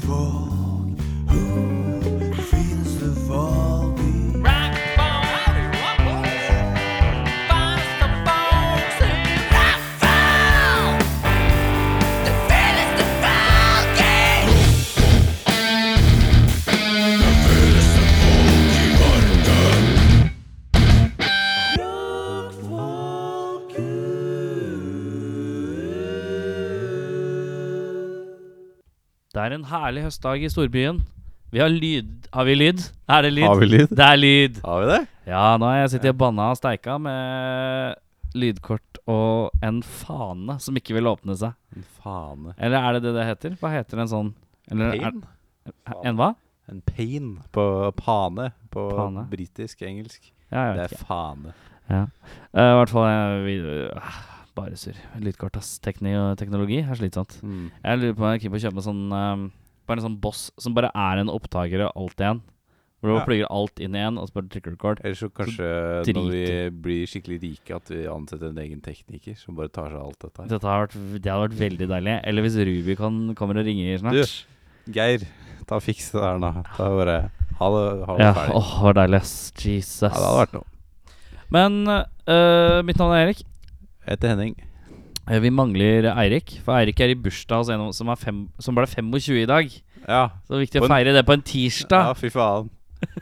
folk? Who feels the fall beat? Det er en herlig høstdag i storbyen. Vi har lyd Har vi lyd? Er det lyd? Har vi lyd? Det er lyd! Har vi det? Ja, nå har jeg sittet og banna og steika med lydkort og en fane som ikke vil åpne seg. En fane. Eller er det det det heter? Hva heter en sånn Eller er, Pain? En hva? En pain på pane på Pane. britisk engelsk. Ja, jeg Det vet er ikke. fane. Ja. Eh, I hvert fall eh, vi, eh, Bare surr. Lydkort, ass. Tekni og teknologi er slitsomt. Mm. Jeg lurer på om jeg er keen på å kjøpe en sånn eh, Bare en sånn boss som bare er en opptaker av alt i en. Hvor du Ja. plugger alt inn i en, og så bare trykker record. Eller så kanskje når vi blir skikkelig rike, at vi ansetter en egen tekniker som bare tar seg av alt dette her. Dette har vært, det hadde vært veldig deilig. Eller hvis Rubicon kommer og ringer snart. Du, Geir, ta og fiks det der nå. Ta og bare ha det, ha det Ja, ferdig. åh, det var deilig, ass. Jesus. Ja, det hadde vært noe. Men øh, mitt navn er Erik. Jeg heter Henning. Eh, Vi mangler Eirik, for Eirik er i bursdag hos en av- som, er fem, som ble 25 i dag. Så Ja. det er viktig På en- å feire det på en ja, tirsdag. fy faen.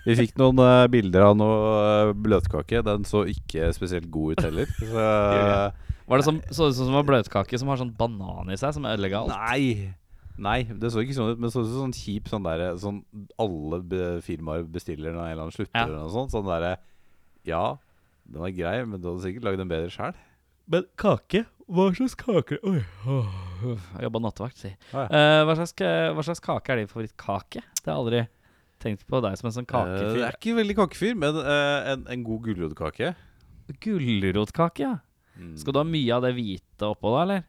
Vi fikk noen eh, bilder av noe eh, bløtkake. Den så ikke spesielt god ut heller. Så Var det som, så ut som det var bløtkake som har sånn banan i seg, som ødelegga alt? Nei. Nei, det så ikke sånn ut, men det så ut som sånn kjip sånn der Sånn alle be firmaer bestiller når en eller annen slutter Ja. eller noe sånt. Sånn derre Ja, den er grei, men du hadde sikkert lagd en bedre Eh, sjæl. Men kake? Hva slags kake Oi. Jeg jobba nattevakt, si. Ah, Eh, hva, slags, hva slags kake er din favorittkake? Det har jeg aldri tenkt på deg som en sånn Eh, det kakefyr. er ikke veldig kakefyr, men eh, en, en god gulrotkake. Gulrotkake, ja. Mm. Skal du ha mye av det hvite oppå da, eller?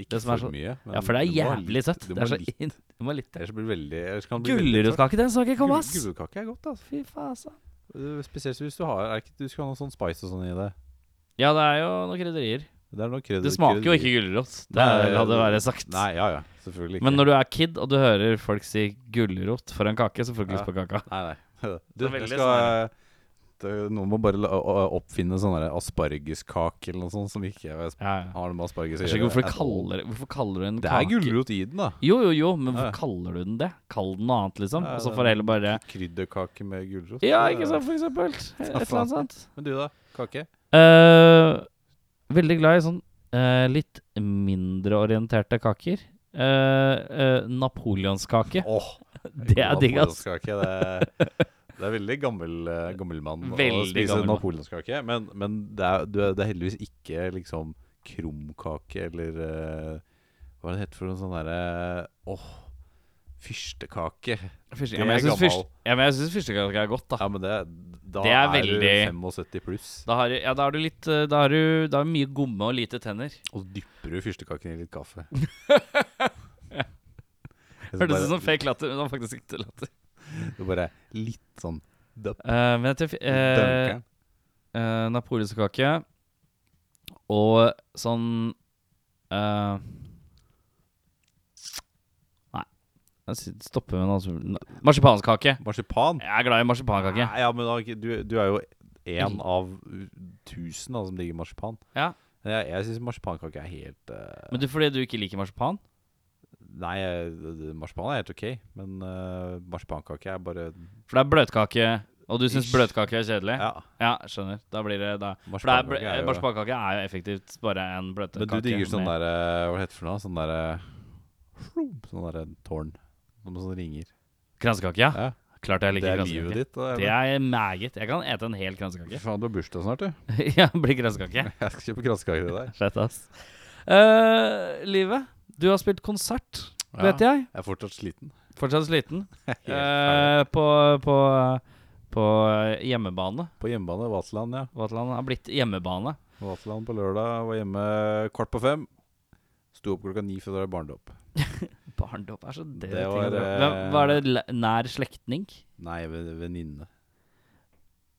Ikke det som er for så- mye. men Ja, for det er du må ha litt- jævlig søtt. Du Det må er ha så litt. inn... Du må ha litt Ellers blir det veldig ellers kan det bli veldig tørt. Gulrotkake, den så ikke komme, Gul- ass. Gulrotkake er godt, altså. Fy faen, altså. Eh, Spesielt hvis du har er ikke, Du skal ha noe sånn spice og sånn i det. Ja, det er jo noen krydderier. Det, er noe krydder- Det smaker jo ikke krydder- gulrot. Det Nei, hadde vært sagt. Nei, ja ja. Selvfølgelig ikke. Men når du er kid og du hører folk si gulrot for en kake, så får du ikke Ja. lyst på kaka. Nei, nei. Du, Det er jeg veldig sånn skal det, Noen må bare la- å- å- oppfinne sånn der aspargeskake eller noe sånt som ikke er- Ja, ja. har noe med asparges å Jeg skjønner ikke at hvorfor du all. kaller, hvorfor kaller du en Det kake er gulrot i den, da. Jo, jo, jo, men Ja, hvorfor ja. kaller du den det? Kall den noe annet, liksom. Ja, Og så det- får jeg heller bare Krydderkake med gulrot. Ja, det- ikke sant, for eksempel. Et Ja, eller annet faen. sånt. Men du, da? Kake? Eh, veldig glad i sånn eh, litt mindre orienterte kaker. Eh, eh, napoleonskake. Åh, Det er digg, ass. Napoleonskake, det, er- det er veldig gammel, eh, gammel mann å Veldig spise gammel mann. napoleonskake. Men, men det, er, du, er- det er heldigvis ikke liksom krumkake eller eh, Hva er det heter for noe sånn derre Åh, fyrstekake. Fyrste, Det ja, men jeg er syns fyrste, gammel. ja, men jeg syns fyrstekake er godt, da. Ja, men det, da Det er veldig- du 75 pluss. Da har, du- ja, da har du litt eh, Da har du da har du mye gomme og lite tenner. Og så dypper du fyrstekaken i litt kaffe. Hørtes ut som fake latter, men det var faktisk ikke latter. Du bare litt sånn dup, Eh, men jeg tror uh, dunker. uh, Napoleonskake og sånn eh, Nei. Jeg sy- stopper med noe som Marsipanskake. Marsipan? Jeg er glad i marsipankake. Nei, ja, men da, du, du er jo én av tusen da, som digger marsipan. Ja. Men Jeg, jeg syns marsipankake er helt eh, Men du, fordi du ikke liker marsipan? Nei, jeg- marsipan er helt ok, men eh, marsipankake er bare For det er bløtkake, og du syns Ish. bløtkake er kjedelig? Ja. Ja. skjønner. Da blir det da. For det er blø- Marsipankake er jo marsipankake er jo effektivt bare en bløtkake. Men du digger sånn med- der eh, Hva det heter for noe? Sånn derre Sånn derre tårn. Som sånne ringer. Kransekake, ja. Ja, Klart jeg det liker er kransekake. livet ditt. Det er meget. Jeg kan ete en hel kransekake. Faen, du har bursdag snart, du. ja, blir kransekake. Jeg skal kjøpe kransekake til deg. Fett, ass. Eh, livet. Du har spilt konsert, vet jeg. Jeg er fortsatt sliten. Fortsatt sliten. Helt ferdig. Eh, på, på, på hjemmebane. på hjemmebane Vaterland, ja. Vaterland har blitt hjemmebane. Vaterland på lørdag. Var hjemme kvart på fem. Sto opp klokka ni for å dra i barnedåp. Barndom er så død. Det var, eh, var det l- nær slektning? Nei, ve- venninne.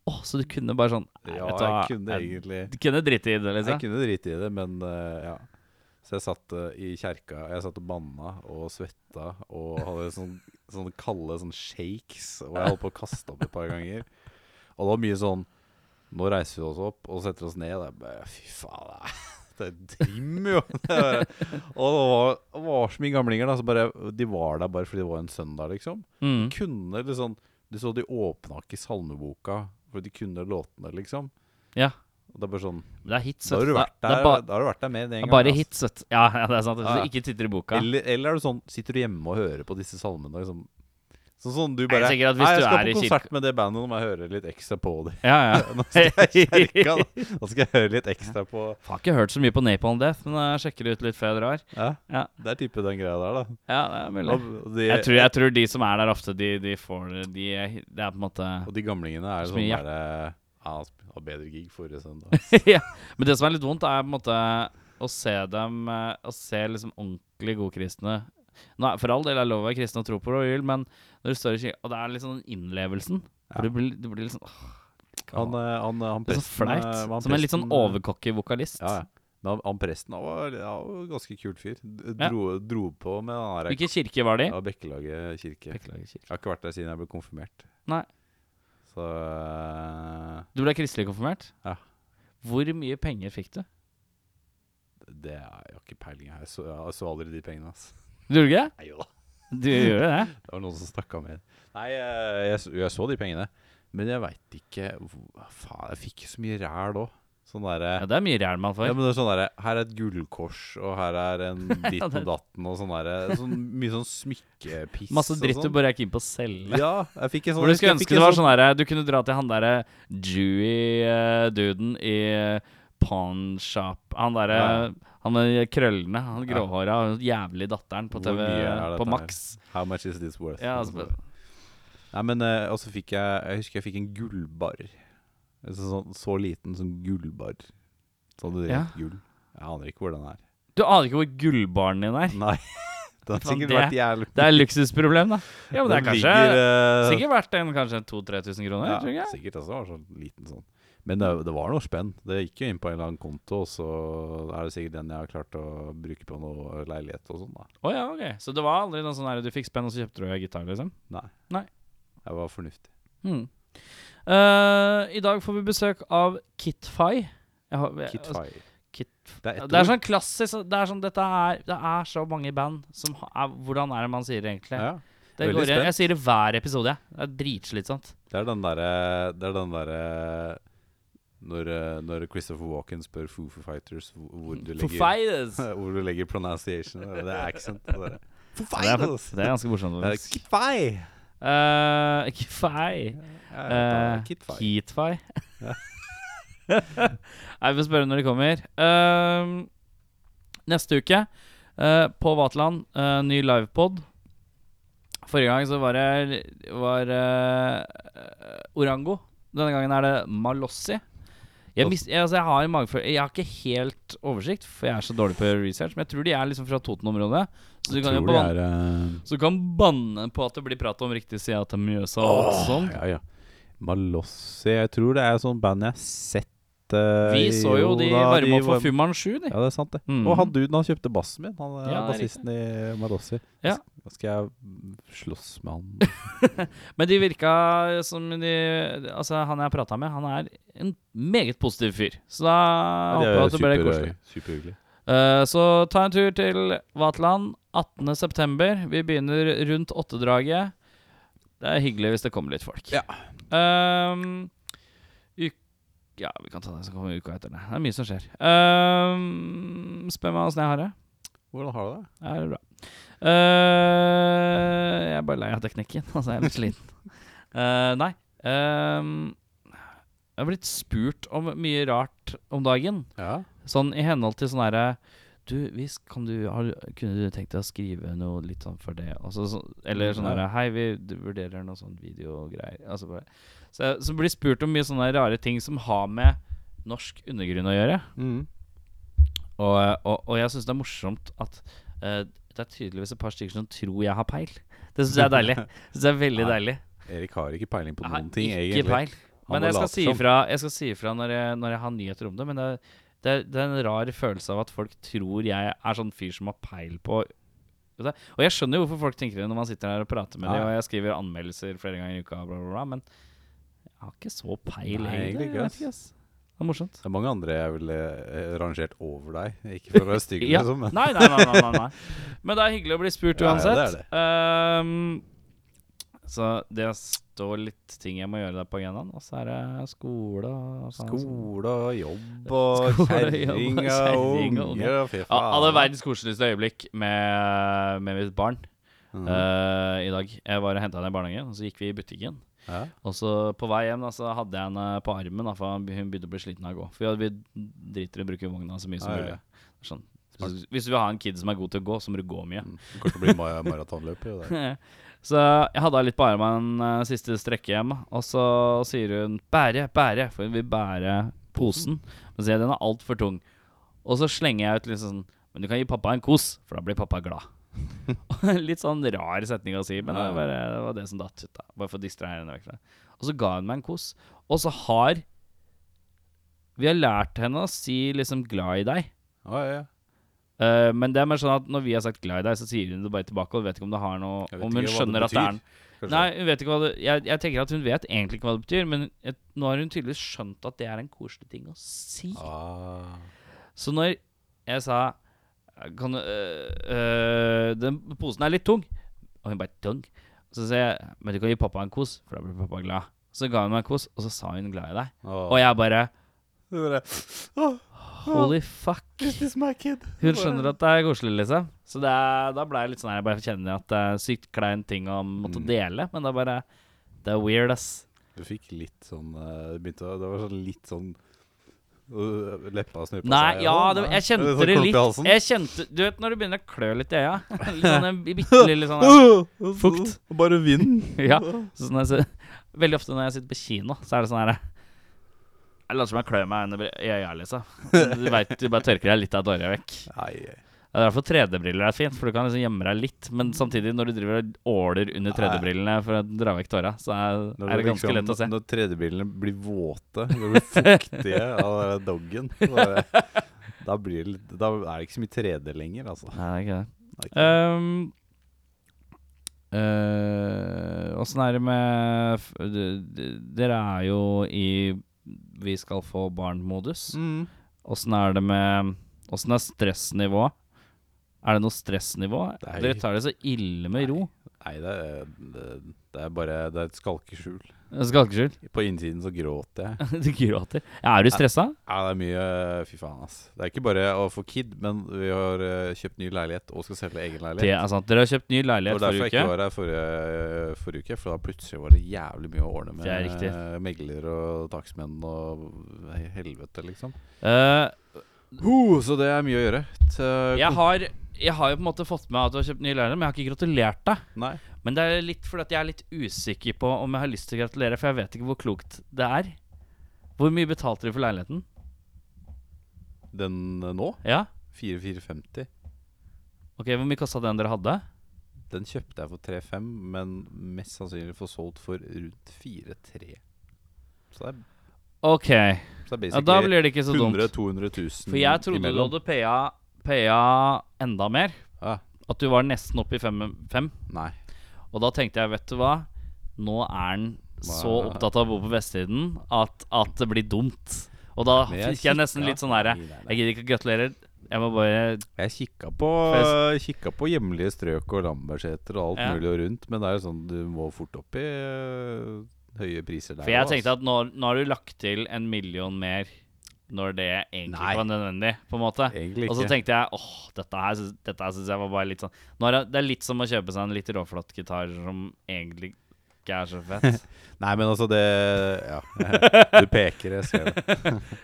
Åh, så du kunne bare sånn nei, Ja, vet du hva, jeg kunne jeg- egentlig Du kunne drite i Jeg det, liksom? kunne drite i det, men eh, ja. Så jeg satt eh, i kjerka Jeg satt og banna og svetta og hadde sånn, sånne kalde sånn shakes. Og jeg holdt på å kaste opp et par ganger. Og det var mye sånn Nå reiser vi oss opp og setter oss ned. Og jeg bare, Fy faen, det er, det er trim, jo! Det er, bare- og det var, det var så mye gamlinger. Da, så bare, de var der bare fordi det var en søndag, liksom. Mm. De kunne liksom Du så de åpna ikke salmeboka, for de kunne låtene, liksom. Ja. Og det er bare sånn Men det er hits. Da vet har du Det vært er- det der, er ba- da har du vært der mer enn det én er gang. bare altså. hits, vet du. Ja, ja, det er sant. Ja, ja. Så ikke titter i boka. Eller, eller er du sånn, sitter du hjemme og hører på disse salmene og liksom Sånn sånn du Jeg bare tenker at hvis Nei, jeg du skal er i på konsert kirke- med det bandet, nå må jeg høre litt ekstra på det. Ja, Nå ja. skal jeg i kirka, da. Nå skal jeg høre litt ekstra på Har ikke hørt så mye på Napalm Death, men jeg sjekker det ut litt før jeg drar. Ja, Ja. det er type den greia der, da. Ja, det er mulig. Og de, Jeg tror, jeg tror de som er der ofte, de, de får det de, Det er på en måte og de gamlingene er Så sånn mye derre Ja, han sp- hadde bedre gig forrige søndag. ja. Men det som er litt vondt, er på en måte å se dem eh, Å se liksom ordentlig godkristne Nå, er- For all del er det lov å være kristen og tro på det, og jul, men når du står i kirka Og det er liksom den innlevelsen. For Ja. du blir, du blir liksom åh, Han, eh, han, han Det er så presten eh, flaut. han Som en litt sånn presten, eh, overcocky vokalist. Ja, ja. Men han, han presten han var, ja, han var en ganske kul fyr. D- Ja. Dro, dro på med den der Hvilken kirke var de? ja, Bekkelaget kirke. Beklager, kirke. Jeg har ikke vært der siden jeg ble konfirmert. Nei. Så eh, Du ble kristelig konfirmert? Ja. Hvor mye penger fikk du? det er jeg har ikke peiling her. Jeg så, jeg så aldri de pengene, ass. Du gjorde ikke det? Nei, jo da. Du gjorde det? Det var noen som stakk av med. Nei, eh, jeg, så- jeg så de pengene. Men jeg veit ikke hvor- Faen, jeg fikk så mye ræl òg. Sånn Ja, derre det er mye ræl man ja, får. men det er sånn derre Her er et gullkors, og her er en ditt og det- datten, og sånn derre sånn, Mye sånn smykkepiss. Masse og dritt sånn. du bare er keen på å selge. Ja, jeg fikk en sånn Hvor du skulle jeg fikk ønske en det var sånn derre Du kunne dra til han derre Jewy-duden i eh, pawnshop Han derre Ja, ja. Han med krøllene, han Ja. gråhåra, han jævlig datteren på Hvor TV mye er på dette Max. How much is this worth? sånn- Ja, Og altså, så bare- Nei, men eh, Og så fikk jeg Jeg husker jeg fikk en gullbar. Altså, sånn- så liten som gullbar. Så hadde det Ja. rent gull. Jeg aner ikke hvor den er. Du aner ikke hvor gullbaren din er. Nei. Den har Faen, sikkert det- vært jævlig Det er luksusproblem, da. Ja, men det er Den kanskje ligger, eh, Sikkert verdt en kanskje 2000-3000 kroner. ja, tror jeg. Sikkert også var sånn liten sånn. Men det, det var noe spenn. Det gikk jo inn på en eller annen konto, og så er det sikkert den jeg har klart å bruke på noe leilighet og sånn, da. Å ja, ok. Så det var aldri noe sånn her du fikk spenn, og så kjøpte du deg gitar, liksom? Nei. Nei. Jeg var fornuftig. Hmm. Eh, I dag får vi besøk av Kitfy. Jeg har- jeg- altså, Kitfire. Kit- Det er det ett er ord. sånn klassisk Det er sånn Dette er Det er så mange band som ha- er, Hvordan er det man sier det egentlig? Ja. det veldig går, igjen. spent. jeg sier det hver episode, jeg. Det er dritslitsomt. Det er den derre Det er den derre når, eh, når Christopher Walken spør Foo Foo Fighters hvor hvor du For legger fighters! Ja, Hvor du legger pronunciation og Det er accent. Det der. Foo Det er, Fighters! det er ganske morsomt. Eh, faktisk. Kitfy! Eh, Kitfy. Ja, ja, Eh, Kitfy. Kitfy. Ja. Nei, vi får spørre når de kommer. Ehm, neste uke, eh, på Vaterland, eh, ny livepod. Forrige gang så var det var, eh, eh, Orango. Denne gangen er det Malossi. Jeg, mis, jeg, altså jeg har en mageføl- Jeg har ikke helt oversikt, for jeg er så dårlig på research. Men jeg tror de er liksom fra Toten-området. Så du kan, jo Tror banne, det er eh, så du kan banne på at det blir prat om riktig side til Mjøsa og alt sånt. Ja, ja. Malossi Jeg tror det er sånn band jeg har sett eh, Vi så jo de da, varme opp for varme- Fumann 7, de. Ja, det er sant, det. Mhm. Og han duden han kjøpte bassen min, han eh, Ja, det er bassisten i Malossi. Ja. Da skal jeg mm, slåss med han. Men de virka som de Altså, han jeg prata med, han er en meget positiv fyr. Så da håper jeg at det blir koselig. superhyggelig. Eh, så ta en tur til Vaterland 18.9. Vi begynner rundt åttedraget. Det er hyggelig hvis det kommer litt folk. Ja. Ehm, uk ja, vi kan ta det som kommer uka etter det. Det er mye som skjer. Ehm, spør meg åssen jeg har det. Hvordan har du det? Ja, det er bra. Eh, jeg er bare lei av teknikken. Altså, jeg er litt sliten. Eh, nei. ehm, jeg har blitt spurt om mye rart om dagen. Ja. Sånn i henhold til sånn herre Du, hvis, kan du, har, du- kunne du tenkt deg å skrive noe litt sånn for det? Altså, så, eller sånn Ja. herre Hei, vi d- vurderer noe sånn videogreier. Altså bare Så jeg så blir spurt om mye sånne rare ting som har med norsk undergrunn å gjøre. Mm. Og, eh, og, og jeg syns det er morsomt at eh, det er tydeligvis et par stykker som tror jeg har peil. Det syns jeg er deilig. Det synes jeg er veldig Nei, deilig. Erik har ikke peiling på Jeg noen har ting, ikke egentlig. peil. Han Men må jeg skal, late si som. ifra, jeg skal si ifra når jeg, når jeg har nyheter om det. Men det, det, er- det er en rar følelse av at folk tror jeg er sånn fyr som har peil på Vet du, Og jeg skjønner jo hvorfor folk tenker det når man sitter her og prater med Ja, dem, ja. og jeg skriver anmeldelser flere ganger i uka, bla, bla, bla, men jeg har ikke så peil, Nei, egentlig egentlig. ikke, Jeg vet ass. ikke, ass. Det er morsomt. Det er mange andre jeg ville eh, rangert over deg. Ikke for å være stygg, Ja. liksom. Nei, Men. nei, nei, nei, nei, nei. Men det er hyggelig å bli spurt Ja, ja, uansett. det Ehm, så det står litt ting jeg må gjøre der på agendaen. Og så er det skole og sånn. Skole og jobb og Skole og jobb og kjerring og kjerring og unger og fy Ja, faen. hadde verdens koseligste øyeblikk med, med mitt barn Mhm. eh, i dag. Jeg var og henta henne i barnehagen, og så gikk vi i butikken. Ja. Og så på vei hjem da, så hadde jeg henne på armen, da, for hun begynte å bli sliten av å gå. For ja, vi driter i å bruke vogna så mye som Ja, ja. mulig. Sånn. Hvis, hvis du vil ha en kid som er god til å gå, så må du gå mye. Det kommer til å bli ma- maratonløper. jo, det. Så jeg hadde henne litt på armen eh, siste strekket hjem, og så sier hun 'bære, bære', for hun vil bære posen. Men sier jeg den er altfor tung. Og så slenger jeg ut litt sånn 'men du kan gi pappa en kos, for da blir pappa glad'. litt sånn rar setning å si, men det, var bare, det var det som datt ut. da Bare for å distrahere henne vekk fra det. Og så ga hun meg en kos. Og så har Vi har lært henne å si liksom 'glad i deg'. Å, ja, ja. Eh, men det er mer sånn at når vi har sagt 'glad i deg', så sier hun det bare tilbake. Og du vet ikke om det har noe Jeg vet Om hun ikke hva det skjønner at det er betyr, en Kanskje. Nei, hun vet ikke hva det jeg, jeg tenker at hun vet egentlig ikke hva det betyr, men jeg, nå har hun tydeligvis skjønt at det er en koselig ting å si. Ah. Så når jeg sa kan, du, øh, øh, Den posen er litt tung, og hun bare tung, så sier jeg Men du kan gi pappa en kos, for da blir pappa glad. Så ga hun meg en kos, og så sa hun glad i deg. Og jeg bare Du bare «Åh, Holy fuck. this is my kid. Hun skjønner at det er koselig, liksom. Så det er, da ble jeg litt sånn her Jeg bare kjenner at det er en sykt klein ting å måtte Mm. dele, men det er bare Det er weird, ass. Du fikk litt sånn eh, det begynte, å- Det var sånn litt sånn øh, Leppa snurpa Nei, ja, Åh, det, nei. jeg kjente sånn det klump i litt. halsen. Jeg kjente, Du vet når du begynner å klø litt i øya? Litt sånn en bitte lille sånn der. Åh, Fukt. og Bare vind. Ja, så sånn jeg, ser- Veldig ofte når jeg sitter på kino, så er det sånn her Jeg later som jeg klør meg under br- i øya, liksom. Du vet, du bare tørker deg litt av tårene vekk. Nei, eh, Det er derfor 3D-briller er fint, for du kan liksom gjemme deg litt. Men samtidig, når du driver og åler under 3D-brillene for å dra vekk tåra, så er, når er det det ganske liksom- lett å se. Når 3D-brillene blir våte, når det blir fuktige av den der doggen så bare- da, blir det, litt- da er det ikke så mye 3D lenger, altså. Nei, det er ikke det. Det er ikke- Um, eh, Åssen er det med f- d- d- Dere er jo i Vi skal få barn-modus. Mm. Åssen er det med Åssen er stressnivået? Er det noe stressnivå? Nei. Dere tar det så ille med ro. Nei, det er, det, det er bare Det er et skalkeskjul. Skalkeskjul. På innsiden så gråter jeg. du gråter. Er du stressa? Ja, det er mye eh, Fy faen, ass. Det er ikke bare å få kid, men vi har eh, kjøpt ny leilighet og skal selge egen Det leilighet. er sant. Dere har kjøpt Det ny var leilighet derfor forrige jeg ikke uke. var her forrige, eh, forrige uke, for da plutselig var det jævlig mye å ordne med Det er riktig. eh, megler og takstmenn og he- helvete, liksom. Eh, Ho, så det er mye å gjøre. T- jeg, har, jeg har jo på en måte fått med at du har kjøpt ny leilighet, men jeg har ikke gratulert deg. Nei. Men det er litt fordi at jeg er litt usikker på om jeg har lyst til å gratulere, for jeg vet ikke hvor klokt det er. Hvor mye betalte du for leiligheten? Den eh, nå, Ja? 4450, Ok, Hvor mye kosta den dere hadde? den kjøpte jeg for 35, men mest sannsynlig får solgt for rundt 43. Så det er, Ok, ja, så det er da basically blir det ikke så 100 dumt. 000-200 000 For jeg trodde du imellom. hadde paya, paya enda mer. Ja. At du var nesten oppe i fem, fem. Nei. Og da tenkte jeg, vet du hva Nå er han så Hva? opptatt av å bo på vestsiden at, at det blir dumt. Og da Men jeg fikk jeg nesten kikka- litt sånn herre Nei, nei, nei. Jeg gidder ikke å gratulere. Jeg må bare Jeg kikka på, kikka på hjemlige strøk og Lambertseter og alt Ja. mulig og rundt, men det er jo sånn du må fort opp i øh, høye priser der. For jeg tenkte at nå, nå har du lagt til en million mer når det egentlig Nei. ikke var nødvendig, på en måte. altså. Egentlig Og så ikke. tenkte jeg åh, dette her, syns- dette her syns jeg var bare litt sånn nå er det, det er litt som å kjøpe seg en litt råflott gitar som egentlig ikke er så fett. Nei, men altså, det Ja. Du peker, jeg ser det.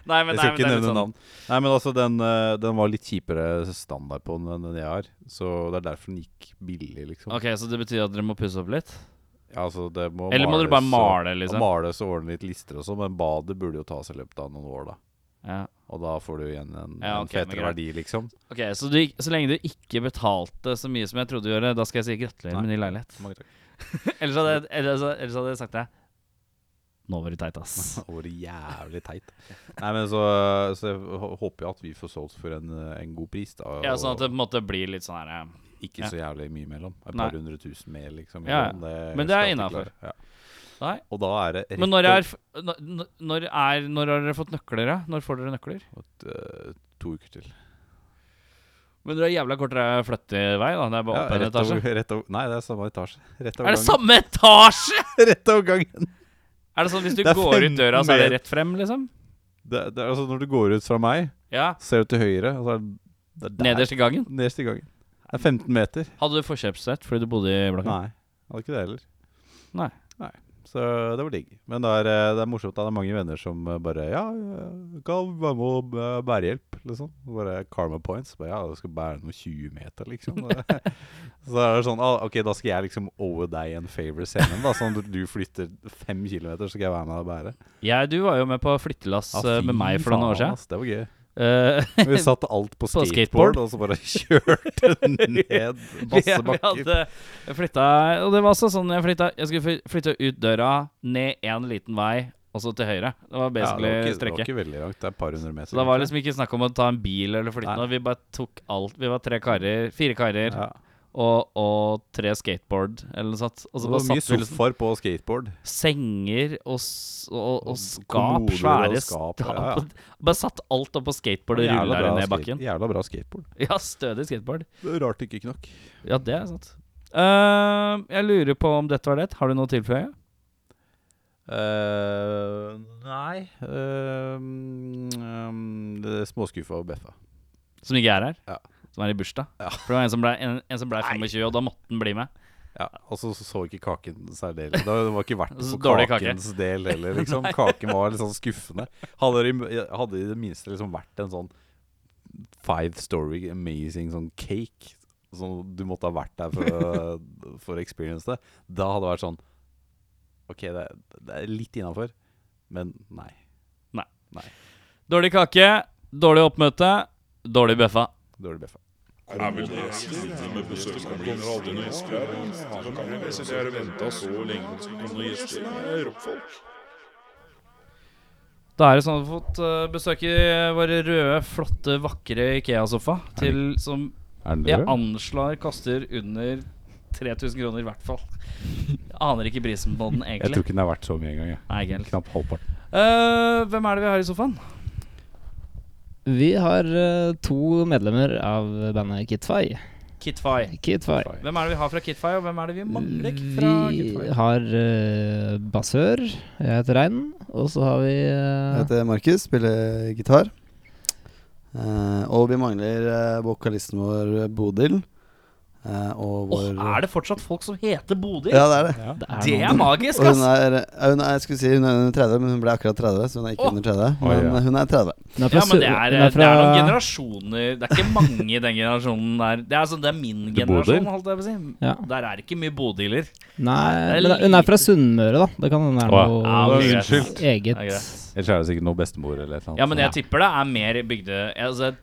Nei, men, Jeg skal nei, men ikke det er litt nevne sånn navn. Nei, men altså, den, øh, den var litt kjipere standard på den enn den jeg har, så det er derfor den gikk billig, liksom. Ok, Så det betyr at dere må pusse opp litt? Ja, altså, det må Eller må dere bare males og- male, liksom? Males og ordne litt lister og sånn, men badet burde jo tas i løpet av noen år, da. Ja. Og da får du igjen en, Ja, en ok, men fetere greit. verdi, liksom. Ok, så, du, så lenge du ikke betalte så mye som jeg trodde du gjorde, da skal jeg si gratulerer med ny leilighet. Mange takk. Ellers hadde, jeg- ellers, ellers hadde jeg sagt det. Nå var det teit, ass. Og det er jævlig teit. Nei, men så, så jeg hå- håper jo at vi får solgt for en, eh, en god pris, da. Ja, sånn og at det på en måte blir litt sånn her eh, ikke ja. så jævlig mye mellom. Et Nei. par hundre tusen mer, liksom. i Ja, ja. måneden, Men det er skal jeg ikke innenfor. klare. Ja. Nei. Og da er det rett Men når og er, f- når, når er Når har dere fått nøkler, da? Når får dere nøkler? slett, eh, to uker til. Men dere har jævla kortere flyttevei, da. Det er bare Ja, opp en rett etasje. over- rett over, nei, det er samme etasje. Rett over Er det gangen. samme etasje?! rett over gangen! Er det sånn hvis du Det er går ut døra, så er det 15 rett frem, liksom? Det, det er altså når du går ut fra meg, Ja. ser du til høyre, og så er det- det er der. Nederst i gangen? Nederst i gangen. Det er 15 meter. Hadde du forkjøpsrett fordi du bodde i blokka? Nei, hadde ikke det heller. Nei. Så det var digg. Men det er, eh, det er morsomt. da. Det er mange venner som eh, bare Ja, jeg kan være med og eh, bærehjelp, liksom. Bare karma points. Bare, ja, du skal bære noen 20 meter, liksom. så er det sånn ah, OK, da skal jeg liksom owe deg en favor senere. Da, sånn at du flytter fem kilometer, så skal jeg være med deg og bære. Jeg, du var jo med på flyttelass Ja, eh, fy med meg for noen faen, år siden. ass, Det var gøy. Eh, Vi satt alt på På skateboard, skateboard. og så bare kjørte ned masse Vi bakker. hadde jeg flytta Og det var også sånn jeg flytta Jeg skulle fly- flytte ut døra, ned en liten vei, og så til høyre. Det Ja, det, var basically var ikke, det var strekket. ikke veldig langt. Det er et par hundre meter. Så det var kanskje. liksom ikke snakk om å ta en bil eller flytte Nei. noe. Vi bare tok alt. Vi var tre karer, fire karer ja. og, og tre skateboard eller noe sånt. Og så det bare var mye satt vi liksom sofaer på skateboard. senger og, s- og, og Og skap. kommoder og Svære skap, skap. ja, ja. Bare satt alt opp på skateboard og Jævla rulla bra ned skate- bakken. Jævla bra skateboard. Ja, stødig skateboard. Rart det ikke knakk. Ja, det er sant. Ehm, jeg lurer på om dette var det. Har du noe å tilføye? Eh, nei eh, mm, Det er Småskuffa og beffa. Som ikke er her? Ja. Som er i bursdag? Ja. For det var en som ble, en, en som ble 25, og da måtte han bli med. Ja, Og så så- så ikke kaken særlig Det var ikke verdt det Så for dårlig kake. kakens del heller. Liksom. Kaken var litt sånn skuffende. Hadde det, i- hadde i det minste liksom vært en sånn five story amazing sånn cake som du måtte ha vært der for, å- for å experience det, da hadde det vært sånn OK, det, er- det er litt innafor, men nei. Dårlig kake, dårlig oppmøte, dårlig bøffa. Dårlig beffa. Da er det sånn at vi har fått eh, besøke vår røde, flotte, vakre Ikea-sofa. Til, som Er den jeg anslår koster under 3000 kroner, i hvert fall. Jeg aner ikke prisen på den, Jeg tror egentlig. ikke den er verdt så mye engang. jeg. Nei, ikke helt. Knapt halvparten. Eh, hvem er det vi har i sofaen? Vi har eh, to medlemmer av bandet Kitfy. Kitfy. Kitfy. Hvem er det vi har fra Kitfy, og hvem er det vi mangler fra Vi Kitfy? har eh, bassør, jeg heter Rein, og så har vi Jeg eh, heter Markus, spiller gitar. Eh, og vi mangler eh, vokalisten vår eh, Bodil. Eh, og Åh, vår er det fortsatt folk som heter Bodil? Ja, det er det. det er magisk, Og hun ass! er, eh, hun er, jeg skulle si hun er under 30, men hun ble akkurat 30, så hun er ikke Åh. under 30. Oi, Men ja. eh, hun er 30. Hun er fra Ja, men det Sør- er, hun er det er noen fra- generasjoner Det er ikke mange i den generasjonen der. Det er, altså, det er min Det er Bodil. generasjon, holdt jeg på å si. Ja. Der er det ikke mye Bodiler. Nei, Det er men hun er fra lite- Sunnmøre, da. Det kan hende det er Åh, noe ja. Ja, eget- unnskyld. Det er eget greit. Ellers er det sikkert noe bestemor eller et eller annet. Ja, men jeg tipper det er mer bygde... Altså,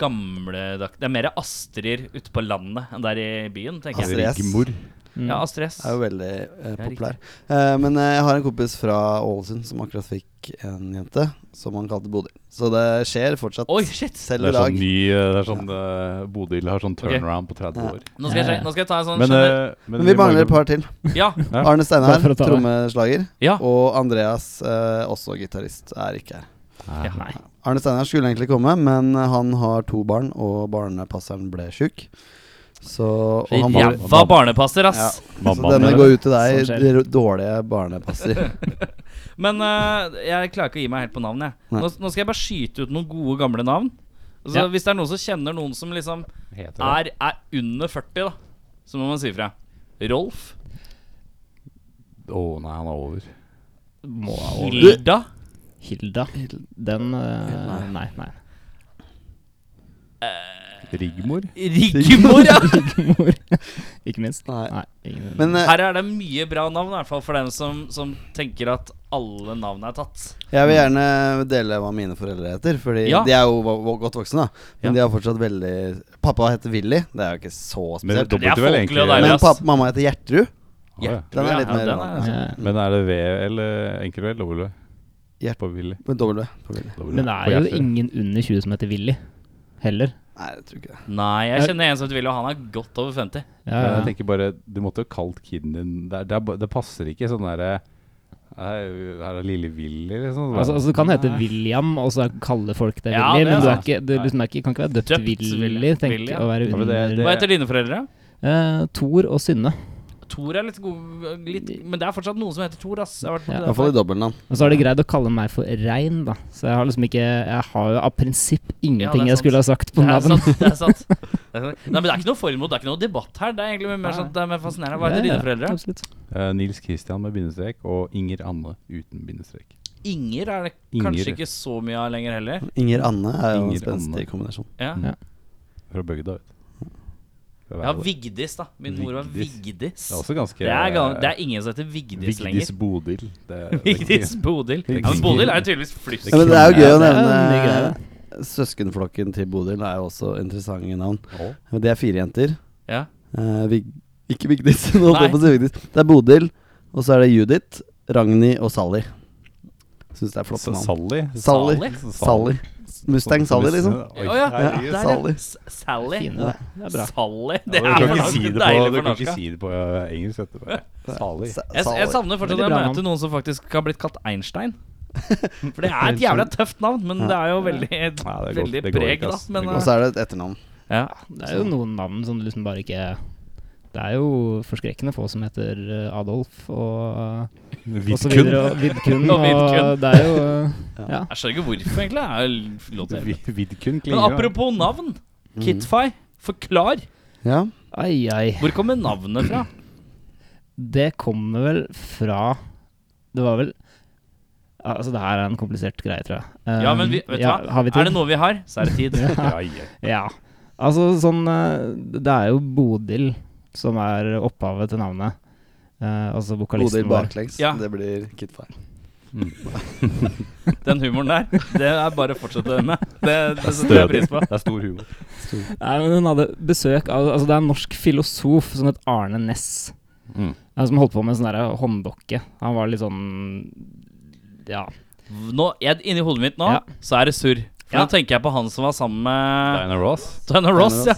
gamle Det er mer Astrid ute på landet enn der i byen, tenker jeg. Astrid. S. Rigmor. mm. Ja, Astrid S. Er jo veldig eh, Ja, riktig. populær. Eh, men eh, jeg har en kompis fra Ålesund som akkurat fikk en jente som han kalte Bodil. Så det skjer fortsatt. Oi, shit! Selv Det i er sånn dag. ny eh, Det er sånn eh, Bodil har sånn turnaround på 30 Ja. år. Nå skal jeg, sjekke- nå skal jeg ta en sånn Men, generell- eh, men Men eh, vi mangler et par til. Ja, Ja. Arne Steinar, Bare for å ta det. trommeslager. ja. Og Andreas, eh, også gitarist, er ikke her. ja. Nei. Arne Steinar skulle egentlig komme, men han har to barn, og barnepasseren ble sjuk. Så og han var, Ræva barnepasser, Ja. ass. Så Mammaen denne min. går ut til Sånn deg, skjer. dr- dårlige barnepasser. Men eh, jeg klarer ikke å gi meg helt på navn, jeg. Nei. Nå, nå skal jeg bare skyte ut noen gode, gamle navn. Altså, Ja. Hvis det er noen som kjenner noen som liksom Heter det. er, er under 40, da, så må man si ifra. Rolf. Å nei, han er over. Må ha over. Hilda. Hilda. Den eh, Nei, nei. Rigmor? Rigmor, ja! Mor. Ikke minst. Nei. Nei, ingen Men eh, Her er det mye bra navn, i hvert fall for dem som, som tenker at alle navn er tatt. jeg vil gjerne dele hva mine foreldre heter, Fordi Ja. de er jo vo- vo- godt voksne, da. Men Ja. de er fortsatt veldig Pappa heter Willy, det er jo ikke så Men da spesielt. Det er burde vel egentlig folkelig og altså. deilig. Men ass. pappa, mamma heter Gjertrud. ja. Den er Ja, litt ja, mer den relevant. Ja, ja. Men er det V eller enkel V eller W? Hjert- På Willy. På W. På Willy. W. Men det På er jo hjertet. ingen under 20 som heter Willy heller. Nei, jeg tror ikke det. Nei, jeg kjenner en som heter Willy, og han er godt over 50. Ja, Men ja. jeg tenker bare Du måtte jo kalt kiden din Det, er- det, er ba- det passer ikke sånn derre Her her er lille Willy, liksom. Altså, altså, du kan hete William, og så kalle folk deg Ja, Willy, det er men du er sant. ikke, du liksom er ikke, kan ikke være døpt, Døpt Willy. Willy. Tenk Willy, ja. å være Ja, men under det- det- Hva heter dine foreldre? Eh, Thor og Synne. Tor er litt god litt, Men det er fortsatt noen som heter Tor, ass. Jeg har vært borti Ja. det I hvert fall før. i dobbeltnavn. Og så har de greid å kalle meg for Rein, da. Så jeg har liksom ikke Jeg har jo av prinsipp Ja, det ingenting er jeg skulle ha sagt Det på er navn. sant. Det er sant. Det er sant. Nei, men det er ikke noe formod, det er ikke noe debatt her. Det er egentlig mer sånn at det er mer fascinerende. Hva Ja, heter ja, dine foreldre? Absolutt. Eh, Nils Christian med bindestrek og Inger Anne uten bindestrek. Inger er det Inger. kanskje ikke så mye av lenger heller. Inger Anne er jo en Inger Anne. spenstig kombinasjon. Ja. Ja. Fra Bøgda, vet du. ja, Vigdis, da. Min mor var Vigdis. Vigdis. Det er også ganske eh, Det er, gal- det er ingen som heter Vigdis lenger. Vigdis Bodil. Det, det- Vigdis Bodil. Ja, men Bodil er jo tydeligvis flysk. Ja, men det er jo gøy å Ja, det er en ny nevne greie, Søskenflokken til Bodil er jo også interessante navn. Å, Men Det er fire jenter. Ja. Eh, Vig ikke Vigdis, nå holdt jeg Nei. på å si Vigdis. Det er Bodil, og så er det Judith, Ragnhild og Sally. Syns det er flotte Så navn. Sally. Sally. Sally. Mustang Sally, liksom. Oi, Å ja, herregud. der, ja. Sally. S- Sally. Fine, det. Det er bra. Sally. Ja, du Det er kan ikke faktisk si det på, deilig du for kan ikke norska. si det på eh, engelsk etterpå. Sally. Sa- Jeg, Sally. jeg savner fortsatt Veldig å bra møte navn. noen som faktisk har blitt kalt Einstein. For det er et jævla tøft navn, men det er jo veldig, går- veldig det går preg, ikke, da. ass. Men, Det Og går så er det et etternavn. eh, ja. Det er jo noen navn som du liksom bare ikke Det er jo forskrekkende få som heter eh, Adolf og, eh, og så Vidkun. videre. Og Vidkun. Og og Vidkun. det er jo eh, Ja. Jeg skjønner ikke hvorfor, egentlig. Det er jo lov til å gjøre. Vi- Vidkun klinger. Men apropos navn. Kitfy, forklar. Ja. Ai, ai. Hvor kommer navnet fra? Det kommer vel fra Det var vel Altså, det her er en komplisert greie, tror jeg. Ja, Um, men vi, vet du ja, hva? Har vi tid? Er det noe vi har, så er det tid. Ja, ja. Ja. Altså, sånn eh, Det er jo Bodil som er opphavet til navnet. Eh, altså vokalisten Bodil vår. baklengs. Ja. Det blir Kitfar. Den humoren der, det er bare å fortsette med. Det, det setter jeg Stødig. pris på. Det er stor humor. Nei, men hun hadde besøk av Altså, det er en norsk filosof som het Arne Næss. Mm. eh, Som holdt på med en sånn derre hånddokke. Han var litt sånn Ja. Nå, jeg, inni hodet mitt nå, Ja. så er det surr. For Ja. nå tenker jeg på han som var sammen med Diana Ross. Diana Ross. Ja.